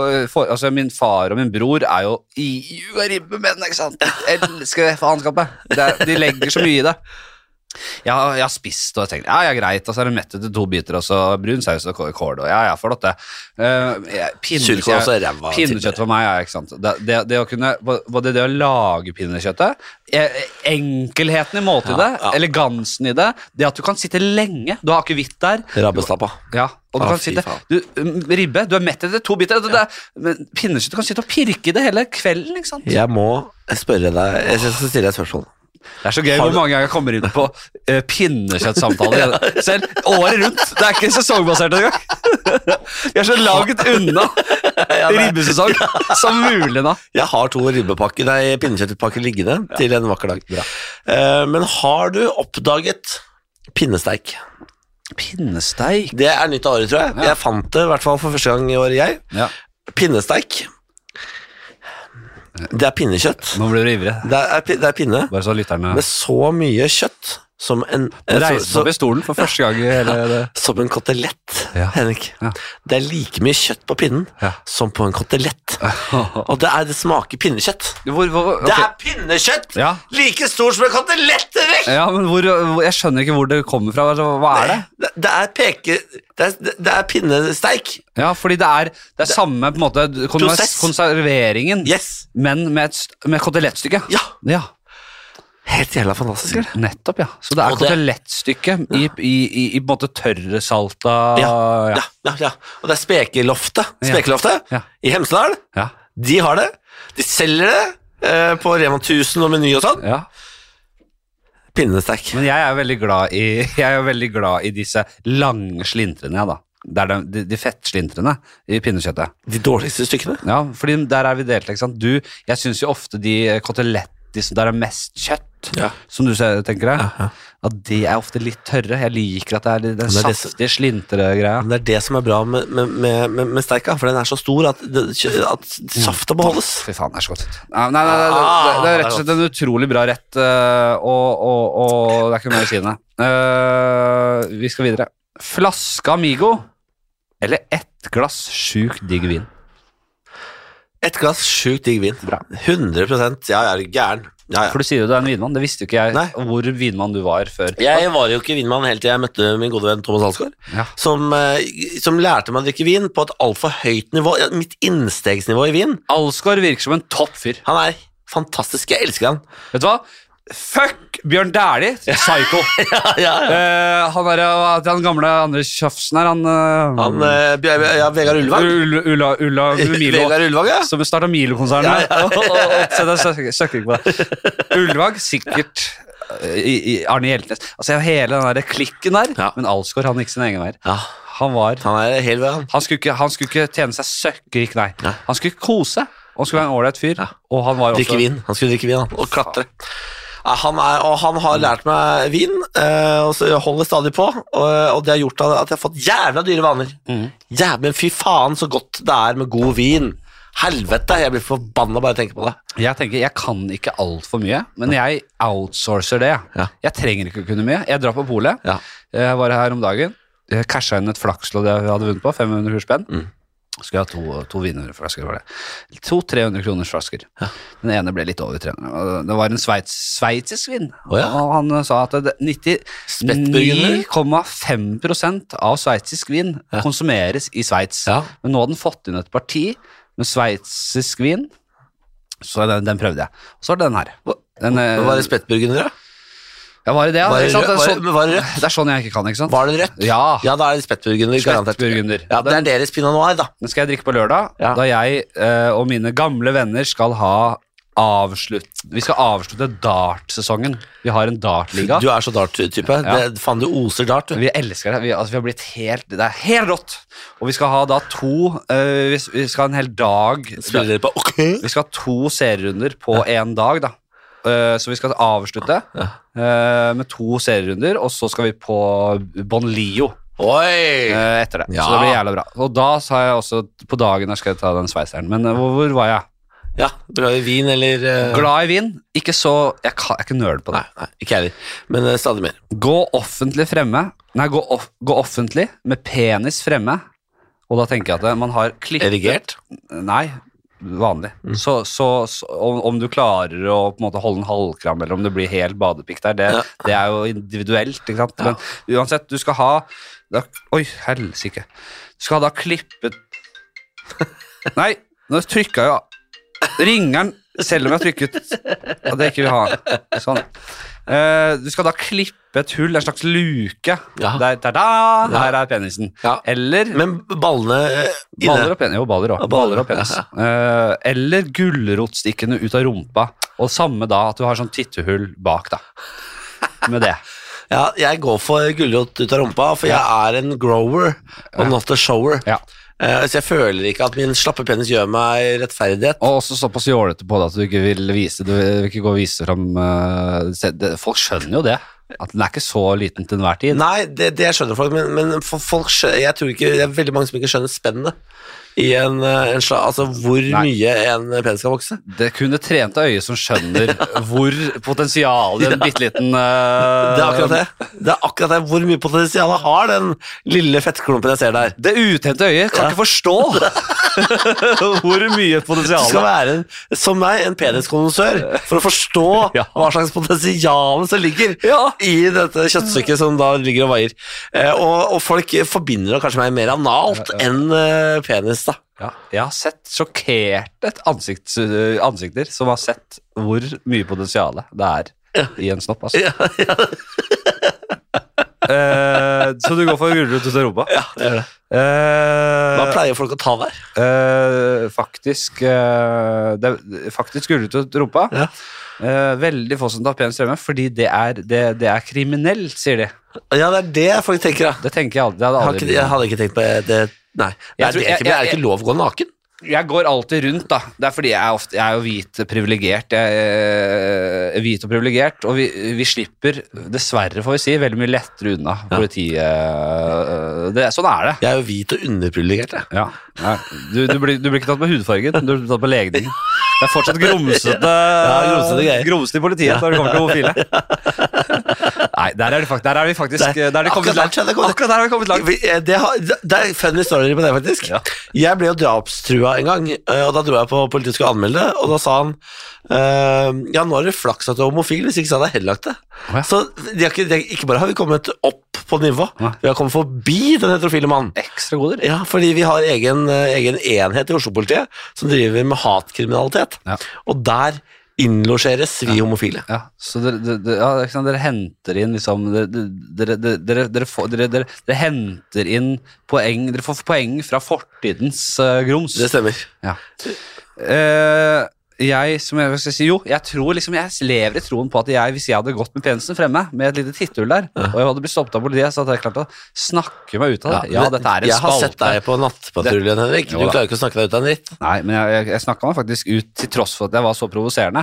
øh, for, altså Min far og min bror er jo i- i ribbemenn, ikke sant? Elsker det faenskapet. Det er- De legger så mye i det. Jeg, har- jeg har spist og jeg tenkt ja, ja, greit, og så er det mettet til to biter, og så brun saus og kå- kål, og ja, ja, flott det. Eh, jeg- pinnekjøtt- Surkål er også ræva, Pinnekjøtt for meg, ja, ikke sant. Det, det, det å kunne, både det å lage pinnekjøttet, eh, enkelheten i måltidet, Ja, ja. elegansen i det, det at du kan sitte lenge, du har akevitt der. Rabbestappa. Ja, og du Ah, kan fy sitte faen. du, mm, Ribbe, du er mett etter to biter. Det, det, men pinnekjøtt, du kan sitte og pirke i det hele kvelden, ikke sant? Jeg må spørre deg Jeg synes jeg skal stille deg et spørsmål. Det er så gøy Har hvor du- mange ganger jeg kommer inn på eh, pinnekjøttsamtaler. (laughs) Selv året rundt. Det er ikke sesongbasert engang. Vi er så langt unna ribbesesong som mulig nå. Jeg har to ribbepakker, nei, pinnekjøttpakker liggende til en vakker dag. Eh, men har du oppdaget pinnesteik? Pinnesteik. Det er nytt av året, tror jeg. Jeg fant det i hvert fall for første gang i år, jeg. Ja, Pinnesteik. Det er pinnekjøtt. nå blir du ivrig. Det er, pi- det er pinne Bare så lytterne med så mye kjøtt som en eh, så, reiser så, opp i stolen for første gang i hele (laughs) det. som en kotelett, Ja. Henrik. Ja. Det er like mye kjøtt på pinnen Ja. som på en kotelett. Og det, er, det smaker pinnekjøtt. Hvor, hvor, ok. Det er pinnekjøtt! Ja. Eh. Like stort som en kotelett, Henrik! ja, men hvor, hvor, Jeg skjønner ikke hvor det kommer fra. Altså, Hva er det? Det, det er peke... Det er, det er pinnesteik. Ja, fordi det er, det er samme på en måte kon- Prosess. konserveringen, Yes. men med, et, st- med kotelettstykke. Ja. ja. Helt jævla fantastisk, eller? Nettopp, ja. Så det er Og det- kotelettstykke i, i, i, i på en måte tørresalta Ja, ja, ja. ja, ja. Og det er Spekeloftet. Ja. Spekeloftet Ja. i Hemsedal. Ja. De har det. De selger det eh, på Rema 1000 og Meny og sånn. ja. Pinnesteik. Men jeg er veldig glad i, (laughs) jeg er jo veldig glad i disse lange slintrene, ja da. Det er de, de, de fettslintrene i pinnekjøttet. De dårligste stykkene. Ja, fordi der er vi delt, ikke sant. Du, jeg syns jo ofte de kotelett, de som der er mest kjøtt, Ja. som du ser- tenker deg, at de er ofte litt tørre. Jeg liker at det er litt- den Men det er det som- saftige slintregreia. Men det er det som er bra med, med, med, med, med steika, for den er så stor at, det- at safta beholdes. Fy faen, det er så godt. Nei, nei, nei, det, det, Ah, det er rett og slett en utrolig bra rett, eh, og, og, og det er ikke noe mer å si enn det. Eh, vi skal videre. Flaske Amigo eller ett glass sjukt digg vin? Et glass sjukt digg vin. 100 Ja, jeg er gæren. Ja, ja. For du sier jo du er en vinmann. Det visste jo ikke jeg Nei. hvor vinmann du var før. Jeg var jo ikke vinmann helt til jeg møtte min gode venn Thomas Alsgaard, Ja. som, eh, som lærte meg å drikke vin på et altfor høyt nivå. Ja, Mitt innstegsnivå i vin. Alsgaard virker som en topp fyr. Han er fantastisk. Jeg elsker han. Vet du hva? Fuck Bjørn Dæhlie! (laughs) Psycho. Ja, ja, ja. Eh, han, er, eh, den gamle andre tjafsen her, han, eh, Han, eh, Bjør- ja, Vegard Ulvang. Ulla, Ulla, Ulla Milo. (laughs) Vegard Ulvang, ja. Som starta Milo-konsernet. (laughs) Ja, søkker ikke på det. (laughs) Ulvang, sikkert. eh, I, i Arne Hjeltnes. Altså, hele den der klikken der. Ja. Men Alsgaard han gikk sine egne veier. ja. Han var Han er helt ved han. han skulle, ikke, han skulle ikke tjene seg søkkrik, nei. Nei. Han skulle kose. Han skulle være en ålreit fyr. Og han var Drikke også vin. Han skulle drikke vin, han. Altså- Og klatre. Ja, Han, er, og han har lært meg vin, eh, og så holder stadig på. Og, og det har gjort at at jeg har fått jævla dyre vaner. Jævla, men fy faen så godt det er med god vin. Helvete, jeg blir forbanna bare jeg tenker på det. Jeg tenker, jeg kan ikke altfor mye, men jeg outsourcer det. jeg. Ja. Jeg trenger ikke å kunne mye. Jeg drar på polet. Ja. Jeg var her om dagen. Jeg casha inn et flakslodd jeg hadde vunnet på, 500 spenn. Mm. Skulle jeg ha to, to wienerflasker, var det. To 300 kroners flasker. Den ene ble litt over 300. og Det var en sveits, sveitsisk vin. Å ja. Og han sa at det- Spettburgunder? 99,5 av sveitsisk vin konsumeres i Sveits. Ja. Men nå hadde den fått inn et parti med sveitsisk vin, så den, den prøvde jeg. Og så var det den her. Den, eh, Men var det spettburgunder, da? ja, var det det? ja, Var det ikke sant? rød- Det er var det- men var det rødt? Det er sånn jeg ikke kan, ikke sant? Var det rødt? Ja. Ja, da er det spettburgunder. garantert. Spettburgunder. Ja, det er deres pinot noir, da. Den skal jeg drikke på lørdag, Ja. da jeg eh, og mine gamle venner skal ha avslutt... Vi skal avslutte dartsesongen. Vi har en dartliga. Du er så dart-type. Ja. Det- Faen, du oser dart, du. Vi elsker det. Vi, altså, vi har blitt helt Det er helt rått! Og vi skal ha da to eh, vi, vi skal ha en hel dag Spiller dere på Vi skal ha to serierunder på én dag, da. Eh, så vi skal avslutte eh, med to serierunder, og så skal vi på Bon Lio. Oi! eh, etter det. Ja. Så det blir jævla bra. Og da sa jeg også på dagen jeg skal ta den sveiseren. Men eh, hvor, hvor var jeg? Ja, Bra i vin eller eh, Glad i vin. Ikke så Jeg, kan, jeg er ikke nerd på det. Nei, nei, ikke jeg heller. Men eh, stadig mer. Gå offentlig fremme. Nei, gå, off, gå offentlig eh, med penis fremme. Og da tenker jeg at man har klippet Erigert? Nei. vanlig. Mm. Så, så, så om, om du klarer å på en måte holde en halvkram, eller om det blir hel badepikk der, det, Ja. det er jo individuelt. ikke sant? Men uansett, du skal ha da, Oi, helsike. Du skal ha da (laughs) klippet Nei, nå trykka jo ringeren selv om jeg trykket at jeg ikke vil ha den. Sånn. Eh, du skal da klippe et hull, en slags luke. Ja. Der, der, da, her er penisen. Ja. Eller Men ballene eh, Baller inne og penis. Jo, baller også. Ja, Baller baller. og penis. Eh, eller gulrotstikkene ut av rumpa, og samme da at du har sånn tittehull bak, da. Med (laughs) det. ja, Jeg går for gulrot ut av rumpa, for jeg er en grower og not a shower. Ja. Eh, Så jeg føler ikke at min slappe penis gjør meg rettferdighet. Og også såpass jålete på det at du ikke vil vise Du vil ikke gå og vise fram eh, se- det- Folk skjønner jo det. At den er ikke så liten til enhver tid. Nei, det, det skjønner folk, men, men for folk skjø- jeg tror ikke, det er veldig mange som ikke skjønner spennet i en, eh, en sla, altså hvor Nei. mye en penis skal vokse. Det er kun det trente øyet som (laughs) skjønner hvor potensialet i en bitte liten eh, Det er akkurat det. Det er akkurat det. Hvor mye potensial har den lille fettklumpen jeg ser der? Det utente øyet kan ikke (laughs) forstå hvor mye Du potensial (laughs) skal være, en, som meg, en (laughs) peniskondensør for å forstå Ja. hva slags potensial som ligger Ja. i dette kjøttstykket som da ligger og vaier. Eh, og, og folk forbinder kanskje meg mer analt enn eh, penis, (laughs) da. Ja, jeg har sett sjokkerte ansikts, øh, ansikter som har sett hvor mye potensial det er i en snopp. Altså. Ja, Eh, så du går for gulrot ut av rumpa? det er det. Hva Eh, pleier folk å ta der? eh, faktisk eh, det er faktisk gulrot ut av rumpa. Ja. Eh, veldig få som tar pen strømme, fordi det er, det, det er kriminelt, sier de. Ja, det er det folk tenker, da. Det tenker jeg aldri. Det hadde Jeg, har aldri ikke, jeg hadde ikke tenkt på det. Nei. Jeg tror- Er det, jeg- ikke, er det jeg- ikke lov å gå naken? Jeg går alltid rundt, da. Det er fordi jeg er, ofte, jeg er jo hvit privilegert. Jeg er hvit og privilegert, og vi, vi slipper, dessverre får vi si, veldig mye lettere unna politiet. Det, sånn er det. Jeg er jo hvit og underprivilegert, jeg. Ja. Nei, Du, du, blir, du blir ikke tatt på hudfargen, du blir tatt på legningen. Det er fortsatt grumsete (laughs) grumsete greier. grumsete i politiet når det kommer til homofile. Nei, der er, det fakt der er vi faktisk Der- der er det kommet akkurat langt. der tror jeg det kommer- Akkurat der har vi kommet langt. Vi- eh, Det, har, det er funny story på det, faktisk. Ja. Jeg ble jo drapstrua en gang, eh, og da dro jeg på politiet og skulle anmelde det. Og da sa han eh, Ja, nå er det flaks at du er homofil, hvis ikke så hadde jeg henlagt det. ja. Så de har ikke, de, ikke bare har vi kommet opp på nivå, Nei. vi har kommet forbi den heterofile mannen. Ekstra goder. Ja, fordi vi har egen, eh, egen enhet i Oslo-politiet som driver med hatkriminalitet. Ja. Og der innlosjeres vi homofile. Ja, så dere, dere, dere- ja, ikke sant, dere henter inn liksom Dere, dere, dere, dere, dere, får- dere, dere, dere henter inn poeng Dere får poeng fra fortidens eh, grums. Det stemmer. Ja. Eh, jeg, som jeg, hva skal jeg si, jo, jeg tror liksom, jeg lever i troen på at jeg, hvis jeg hadde gått med penisen fremme, med et lite titthull der, og jeg hadde blitt stoppet av politiet, så hadde jeg klart å snakke meg ut av det. Ja, men dette er en jeg har spalte. sett deg på Nattpatruljen, Henrik. Du Jo da. klarer ikke å snakke deg ut av en dritt. Nei, men jeg, jeg, jeg snakka meg faktisk ut, til tross for at jeg var så provoserende.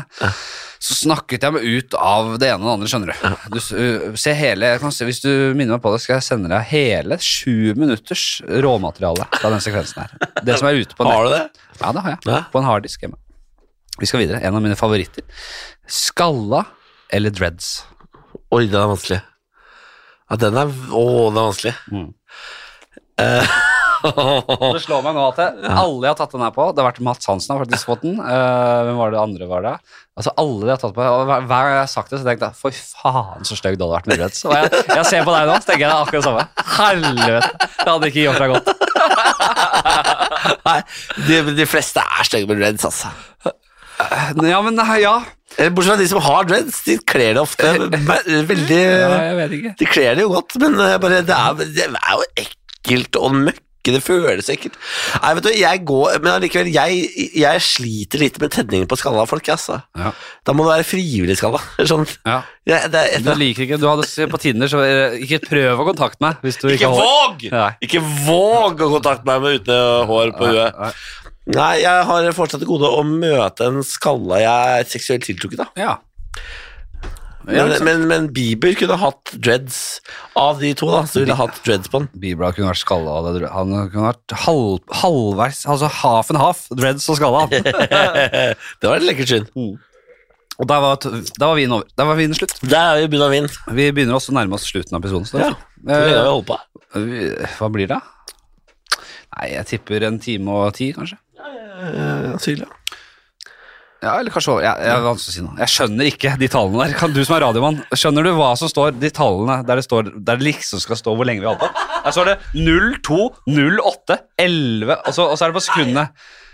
Så snakket jeg meg ut av det ene og det andre, skjønner du. du s- uh, se hele, jeg kan se, hvis du minner meg på det, skal jeg sende deg hele sju minutters råmateriale fra den sekvensen her. Det som er ute på Har du det? Ja, det har jeg. Ja. På en harddisk hjemme. Vi skal videre. En av mine favoritter. Skalla eller dreads? Oi, den er vanskelig. Ja, den er Å, den er vanskelig. Mm. Eh, (laughs) (laughs) Det slår meg nå at jeg, alle jeg har tatt den her på Det har vært Mats Hansen har faktisk fått den. eh, hvem var det andre var det? Altså alle jeg har tatt på og Hver hver gang jeg har sagt det, så tenkte jeg for faen så stygg du hadde vært med dreads. Og jeg, jeg ser på deg nå, så tenker jeg det er akkurat det samme. Helvete. Det hadde ikke gjort deg godt. Nei, de, de fleste er stygge med dreads, altså. (laughs) Ja, men nei, ja. Eh, Bortsett fra de som har dreads. De kler det ofte ve- eh, veldig Eh, ja jeg vet ikke. De kler det jo godt, men eh, bare, det, er, det er jo ekkelt og møkk. Det føles ekkelt. Nei, vet du, jeg går, men allikevel, jeg, jeg sliter litt med tenningen på skalla folk, altså. Ja. Da må det være frivillig skalla. Sånn. Ja. Jeg- det er et Du liker ikke Du hadde på Tinder, så eh, ikke prøv å kontakte meg hvis du ikke, Ikke har hår. våg! Nei. Ikke våg å kontakte meg med uten hår på huet. Nei. Nei, jeg har fortsatt til gode å møte en skalla jeg er seksuelt tiltrukket av. Ja. Ja, Men, ikke sant? men, men Bieber kunne hatt dreads av de to, da. Så ville jeg hatt dreads på han. Bibla kunne vært skalla. og det- Han kunne vært halv, halvveis, altså half and half, dreads og skalla. han. Det var et lekkert syn. Og der var, der var vinen over. Der var vinen slutt. Der er vi i bunnen av vind. Vi begynner også å nærme oss slutten av episoden. Så det Ja. er Hvor lenge har vi fint. holdt på? Eh, vi- hva blir det? Nei, jeg tipper en time og ti, kanskje. Eh, asyl, ja. Ja, eller kanskje over. Ja, jeg, er vanskelig å si noe. jeg skjønner ikke de tallene der. Kan du som er radiomann, skjønner du hva som står de tallene der det, står, der det liksom skal stå hvor lenge vi holdt på? Der står det 02, 08, 11, og så, og så er det på sekundene.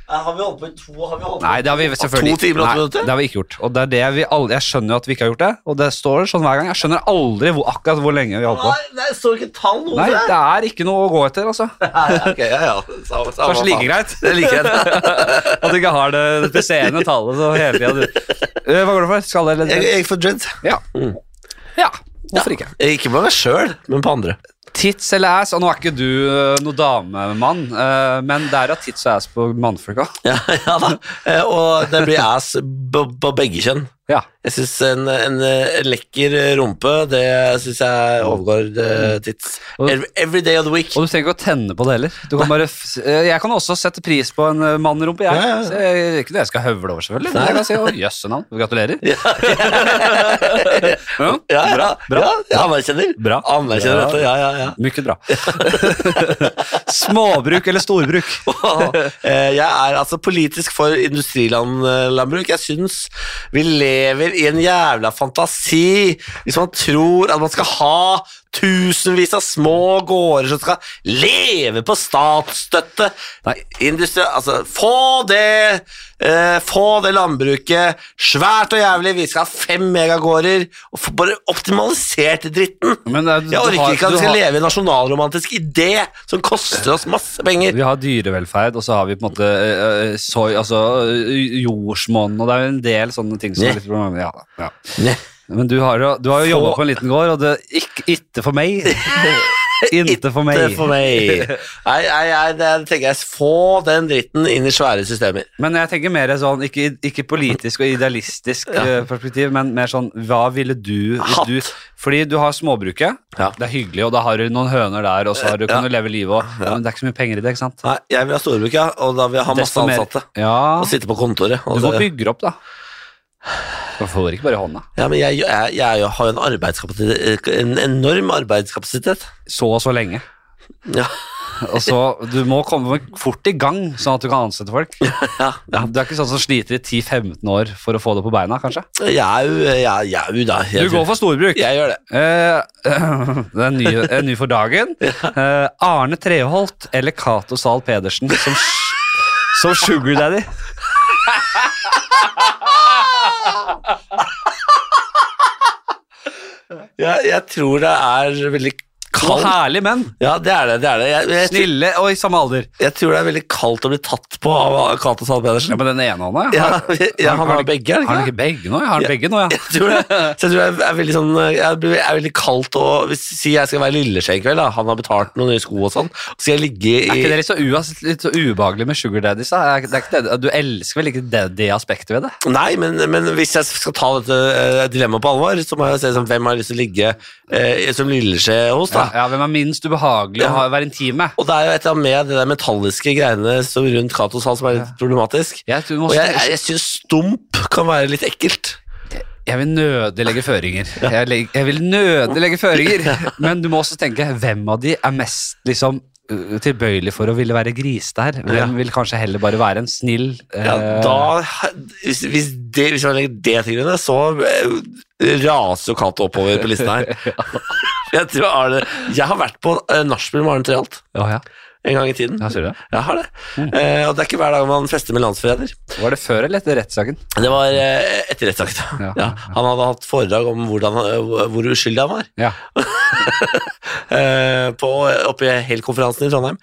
Har vi holdt på i to? Har vi holdt Nei, det har vi selvfølgelig To timer Nei, og åtte minutter? Det har vi ikke gjort. Og det er det vi aldri, jeg skjønner jo at vi ikke har gjort det, og det står sånn hver gang. Jeg skjønner aldri hvor, akkurat hvor lenge vi holdt på. det står ikke tall noe Nei, (laughs) det er ikke noe å gå etter, altså. Ok, ja, ja. Samme, samme, Kanskje like greit. Det er like greit. (laughs) At du ikke har det presserende tallet så hele tida. Eh, Hva går det for? Skalle eller Jeg, jeg får dreads. Ja. ja. Hvorfor ikke? Ikke blant meg sjøl, men på andre. Tits eller ass? Og nå er ikke du eh, noe damemann, eh, men det er jo tits og ass på mannfolka. Ja, (laughs) ja da. Eh, Og det blir ass på på begge kjønn. Ja. Jeg syns en, en, eh, lekker rumpe, det syns jeg overgår eh, tits. Og- Every, every day of the week. Og du trenger ikke å tenne på det heller. Du kan bare f- eh, jeg kan også sette pris på en eh, mannrumpe, jeg. Ja, ja, ja. Så jeg, ikke det jeg skal høvle over, selvfølgelig. Men jeg kan si å, jøsse navn. Gratulerer. (laughs) Ja. Ja, ja, bra. Ja, jeg anerkjenner. Bra. Anerkjenner Bra. dette, ja, ja, ja. Mye bra. (laughs) Småbruk eller storbruk? Eh, Jeg er altså politisk for industrilandbruk. Jeg syns vi lever i en jævla fantasi hvis man tror at man skal ha tusenvis av små gårder som skal leve på statsstøtte. Industri, altså, få det eh, Få det landbruket svært og jævlig. Vi skal ha fem megagårder. Og få bare optimalisert dritten. Men det er- Jeg du orker har- ikke at du vi skal har- leve i en nasjonalromantisk idé som koster oss masse penger. Vi har dyrevelferd, og så har vi på en måte eh, eh, soy, altså eh, jordsmonn, og det er jo en del sånne ting som Ja. er litt problem- ja, da, ja. Men du har jo, du har jo jobba på en liten gård, og det ikke itte for (laughs) meg. Inte for Det meg. er for meg. Nei, nei, nei, det tenker jeg Få den dritten inn i svære systemer. Men jeg tenker mer sånn, ikke, ikke politisk og idealistisk eh, perspektiv, men mer sånn, hva ville du, hvis Hatt. du Fordi du har småbruket, Ja. det er hyggelig, og da har du noen høner der, og så har du, kan Ja. du leve livet òg, men det er ikke så mye penger i det, ikke sant? Nei, jeg vil ha storbruk, ja, og da vil jeg ha masse Desto mer- ansatte. Ja, Og sitte på kontoret. Og du må så- bygge opp, da. Du får ikke bare i hånda. ja, men jeg, jeg, jeg har jo en arbeidskapasitet En enorm arbeidskapasitet. (laughs) Så og så lenge. Ja, (laughs) Og så, Du må komme fort i gang, sånn at du kan ansette folk. ja. Du er ikke sånn som sliter i 10-15 år for å få det på beina, kanskje? Jeg er jo jeg, jeg er jo da Du jeg, går for storbruk. Jeg gjør det. Eh, (clears throat) det er en ny, en ny for (laughs) dagen. Eh, Arne Treholt eller Cato Zahl Pedersen som, s- som sugar daddy. Jeg, jeg tror det er veldig Og kaldt. herlige menn. Ja, det er det. det, er det. Jeg, jeg, jeg, Snille og i samme alder. tror det er veldig kaldt å bli tatt på av Cato Zahl Ja, Pedersen. Men den ene hånda, ja. Ja, (laughs) ja, han har begge, er det Har ikke han det? ikke begge nå? Jeg har han Ja. begge nå, ja. Jeg tror det. Så jeg tror jeg er veldig sånn Jeg blir- jeg er veldig kaldt og hvis Si jeg skal være lilleskje i kveld, da. Han har betalt noen nye sko og sånn. Så skal jeg ligge Er ikke det i litt så, uas- litt så ubehagelig med sugar daddies? da? Er- det er ikke det- Du elsker vel ikke det, det aspektet ved det? Nei, men, men hvis jeg skal ta dette eh, dilemmaet på alvor, så må jeg se sånn, hvem har jeg lyst til å ligge eh, som lilleskje hos, Ja, da. ja, hvem er minst ubehagelig å Ja. ha, være intim med? Og det er jo et eller annet med det der metalliske greiene som rundt Katos hals som er litt problematisk. Jeg, tror vi må- Og jeg, jeg, jeg syns stump kan være litt ekkelt. jeg vil nødig legge føringer. Jeg, leg, jeg vil nødig legge (laughs) føringer, men du må også tenke hvem av de er mest liksom øh, tilbøyelig for å ville være gris der. Ja. Hvem vil kanskje heller bare være en snill eh, Ja, da Hvis, hvis, det, hvis man legger det til grunn, så eh, raser jo Cato oppover på listen her. jeg, tror Arne, jeg har vært på eh, nachspiel med Arne Treholt Å ja. en gang i tiden. Ja, sier du det? Jeg har det. Eh, og det er ikke hver dag man fester med landsforræder. Var det før eller etter rettssaken? Det var eh, etter rettsakt. Ja. Ja. Han hadde hatt foredrag om hvordan, han- hvor uskyldig han var. Ja. eh, på, oppe i Hell-konferansen i Trondheim.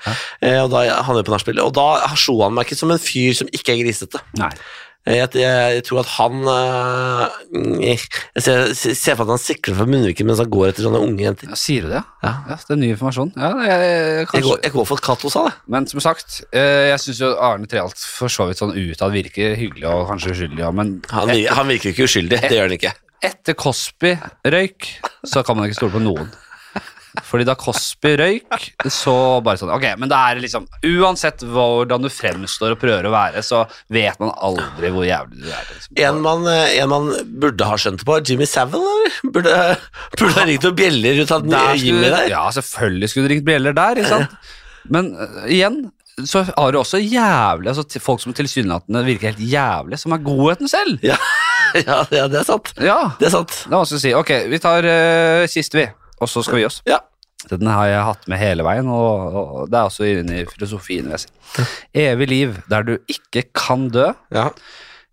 Eh, og da han er på nachspiel. Og da slo han meg ikke som en fyr som ikke er grisete. Nei. Eh, Jeg, jeg, jeg tror at han eh, Jeg ser, ser for at han sikler fra munnviken mens han går etter sånne unge jenter. Ja, sier du det? Ja. Ja. ja, det er ny informasjon. Ja, jeg, Jeg kanskje. går, jeg går for Cato, sa det. Men som sagt, eh, jeg syns jo Arne Treholt for så vidt sånn utad virker hyggelig og kanskje uskyldig, ja, men Han, vir- han virker ikke uskyldig. Det gjør han ikke. etter Cosby røyk, så kan man ikke stole på noen. Fordi da Cosby røyk, så bare sånn Ok, men det er liksom Uansett hvordan du fremstår og prøver å være, så vet man aldri hvor jævlig du er. Liksom. En man, eh, en man burde ha skjønt det på, Jimmy Savile, eller? Burde, burde ha ringt og bjeller ut av den Der Jimmy skulle, der. ja, selvfølgelig skulle du ringt bjeller der, ikke sant? Men eh, igjen, så har du også jævlig altså, til- folk som tilsynelatende virker helt jævlig, som er godheten selv. Ja, ja, (laughs) ja det er sant. Ja, Det er sant. det er vanskelig å si. Ok, vi tar eh, siste, vi. Og så skal vi gi oss. Ja. Den har jeg hatt med hele veien, og, og det er også inne i filosofien. vil jeg si. Evig liv der du ikke kan dø, Ja.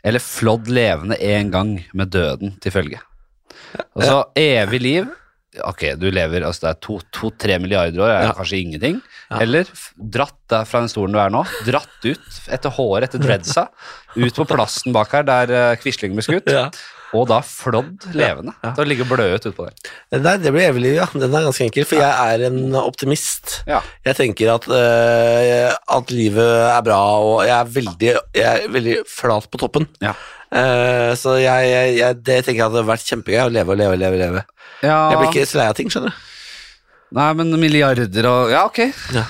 eller flådd levende en gang med døden til følge. Altså, evig liv Ok, du lever altså det er to-tre milliarder år, er Ja. kanskje ingenting. Ja. Eller f- dratt der fra den stolen du er nå, dratt ut etter håret, etter dreadsa, ut på plassen bak her der eh, Quisling ble skutt, ja. og da flådd levende. Ja. Da ligger blødet utpå der. Nei, det blir evig liv, ja. Den er ganske enkel, for jeg er en optimist. Ja. Jeg tenker at, eh, at livet er bra, og jeg er veldig, jeg er veldig flat på toppen. Ja. Eh, så jeg, jeg, jeg, det tenker jeg hadde vært kjempegøy å leve og leve og leve. leve. Jeg blir ikke så lei av ting, skjønner du. Nei, men milliarder og Ja, ok. Ja.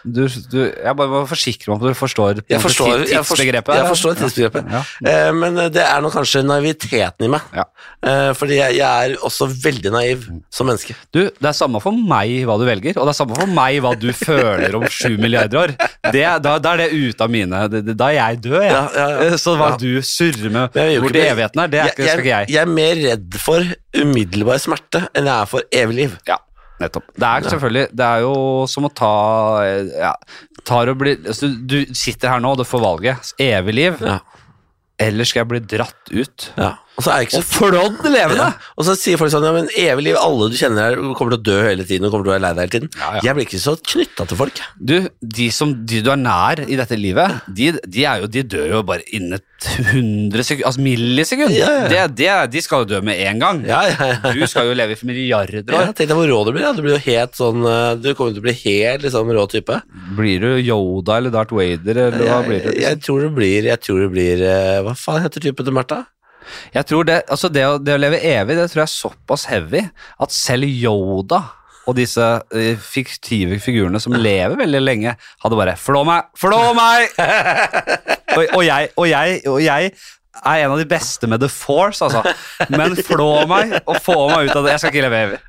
Du, du, jeg bare må forsikre meg om at du forstår, Jeg forstår, jeg forstår, jeg tidsbegrepet. her. forstår tidsbegrepet. Ja. Eh, men det er nok kanskje naiviteten i meg. Ja. Eh, fordi jeg, jeg er også veldig naiv som menneske. Du, det er samme for meg hva du velger, og det er samme for meg hva du føler om sju milliarder år. Det, er- da, da er det ute av mine det, det, Da er jeg død, jeg. Ja, ja, ja. Så hva Ja. du surrer med Men jeg vil jo hvor ikke til bli- evigheten er, det er ikke, skal ikke jeg. jeg er mer redd for umiddelbar smerte enn jeg er for evig liv. Ja, nettopp. Det er selvfølgelig Det er jo som å ta eh, ja, tar og bli, altså, Du du sitter her nå, du får valget. Evig liv, Ja. eller skal jeg bli dratt ut? Ja. Og så er jeg ikke så flådd levende! Ja. Og så sier folk sånn ja, men evig liv, alle du kjenner her, kommer til å dø hele tiden. Og kommer til å være lei deg hele tiden Ja, ja. Jeg blir ikke så knytta til folk. jeg. Du, de som de du er nær i dette livet, de, de, er jo, de dør jo bare innen et hundre sekund, altså millisekund. Ja, ja, ja. Det, det, de skal jo dø med en gang. Ja, ja, ja. Du skal jo leve i milliarder Ja, år. Tenk deg hvor rå du blir. Da. Du blir jo helt sånn eh, Du kommer til å bli helt liksom, rå type. Blir du Yoda eller Darth Vader, eller hva Jeg, blir du? jeg Liksom? tror det blir Jeg tror det blir eh, Hva faen heter typen til Martha? (laughs) Jeg tror det, altså det, å, det å leve evig, det tror jeg er såpass heavy at selv Yoda og disse eh, fiktive figurene som lever veldig lenge, hadde bare 'flå meg, flå meg!' og, og, jeg, og, jeg, og jeg er en av de beste med the force, altså. Men flå meg og få meg ut av det. Jeg skal ikke leve evig.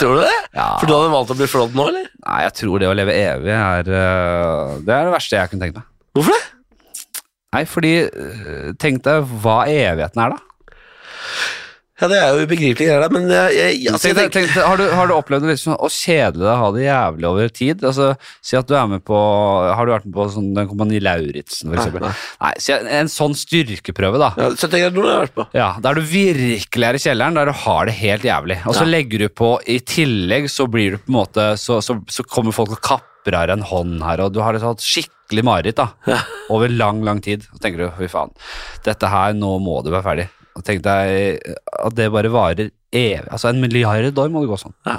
Tror du det? Ja. For du hadde valgt å bli flådd nå, eller? Nei, jeg tror det å leve evig er eh, Det er det verste jeg kunne tenkt meg. Hvorfor det? Nei, fordi eh, Tenk deg hva evigheten er, da. Ja, det er jo ubegripelige greier, da, men jeg, jeg, Tenk, altså, jeg deg- tenker tenk, deg- har, du, har du opplevd det liksom, å kjedelig deg, ha det jævlig over tid? Altså, si at du er med på Har du vært med på sånn, den Kompani Lauritzen, for eksempel? Nei, Nei, si en, en sånn styrkeprøve, da. ja, 71 grader nord har jeg vært på. Ja, Der du virkelig er i kjelleren, der du har det helt jævlig. Og så Ja. legger du på, i tillegg så blir du på en måte Så, så, så kommer folk og kapper av deg en hånd her, og du har liksom hatt skikkelig mareritt da, over lang, lang tid. Så tenker du fy faen, dette her, nå må du være ferdig. Og tenk deg at det bare varer evig. Altså en milliard år må det gå sånn. Ja.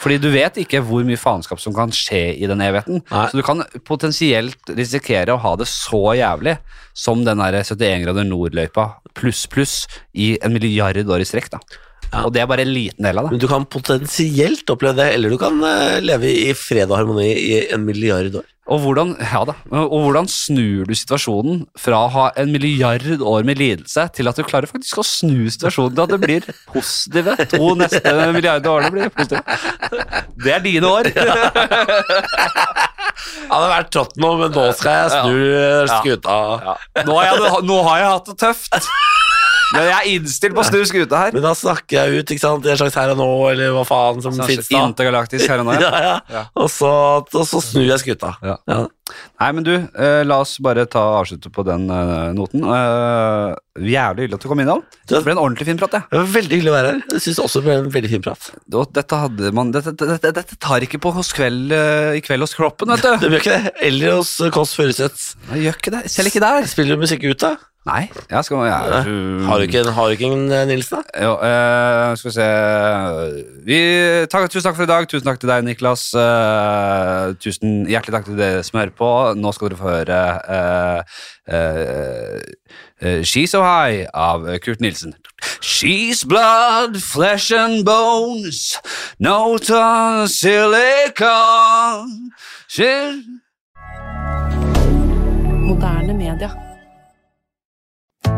Fordi du vet ikke hvor mye faenskap som kan skje i den evigheten. Nei. Så du kan potensielt risikere å ha det så jævlig som den der 71 grader nord-løypa pluss pluss i en milliard år i strekk. da. Og det er bare en liten del av det. Men du kan potensielt oppleve det, eller du kan eh, leve i fred og harmoni i en milliard år. Og hvordan, ja da, og hvordan snur du situasjonen fra å ha en milliard år med lidelse til at du klarer faktisk å snu situasjonen til at det blir positive? To neste milliarder årene blir positive. Det er dine år. Jeg hadde vært trått nå, men nå skal jeg snu eh, Ja. skuta. Nå, har jeg, nå har jeg hatt det tøft. Men jeg er innstilt på å snu skuta her. Men da snakker jeg ut, ikke sant, i en slags her og nå, eller hva faen som Sånn finnes da. Intergalaktisk her og nå. (laughs) Ja, ja. ja. Og, så, og så snur jeg skuta. Ja. Ja. Nei, men du, eh, la oss bare ta avslutte på den eh, noten. Eh, jævlig hyggelig at du kom innom. Det ble en ordentlig fin prat, jeg. Det var veldig hyggelig å være her. Jeg synes også det ble en veldig fin prat. Og Dette, hadde man, dette, dette, dette tar ikke på hos kveld, eh, i kveld hos Kroppen, vet du. Det blir ikke det. Eller hos Kåss Furuseth. Nei, gjør ikke det. Selv ikke der. Mm. Spiller du musikk ut, da? Nei. Jeg skal, jeg, Har du ikke en, har du ikke en eh, Nilsen, da? Jo, eh, skal vi se vi, takk, Tusen takk for i dag. Tusen takk til deg, Niklas. Eh, tusen hjertelig takk til dere som hører på. Nå skal dere få høre eh, eh, eh, She's So High av Kurt Nilsen. She's blood, flesh and bones, no ton silicon. She's Moderne media.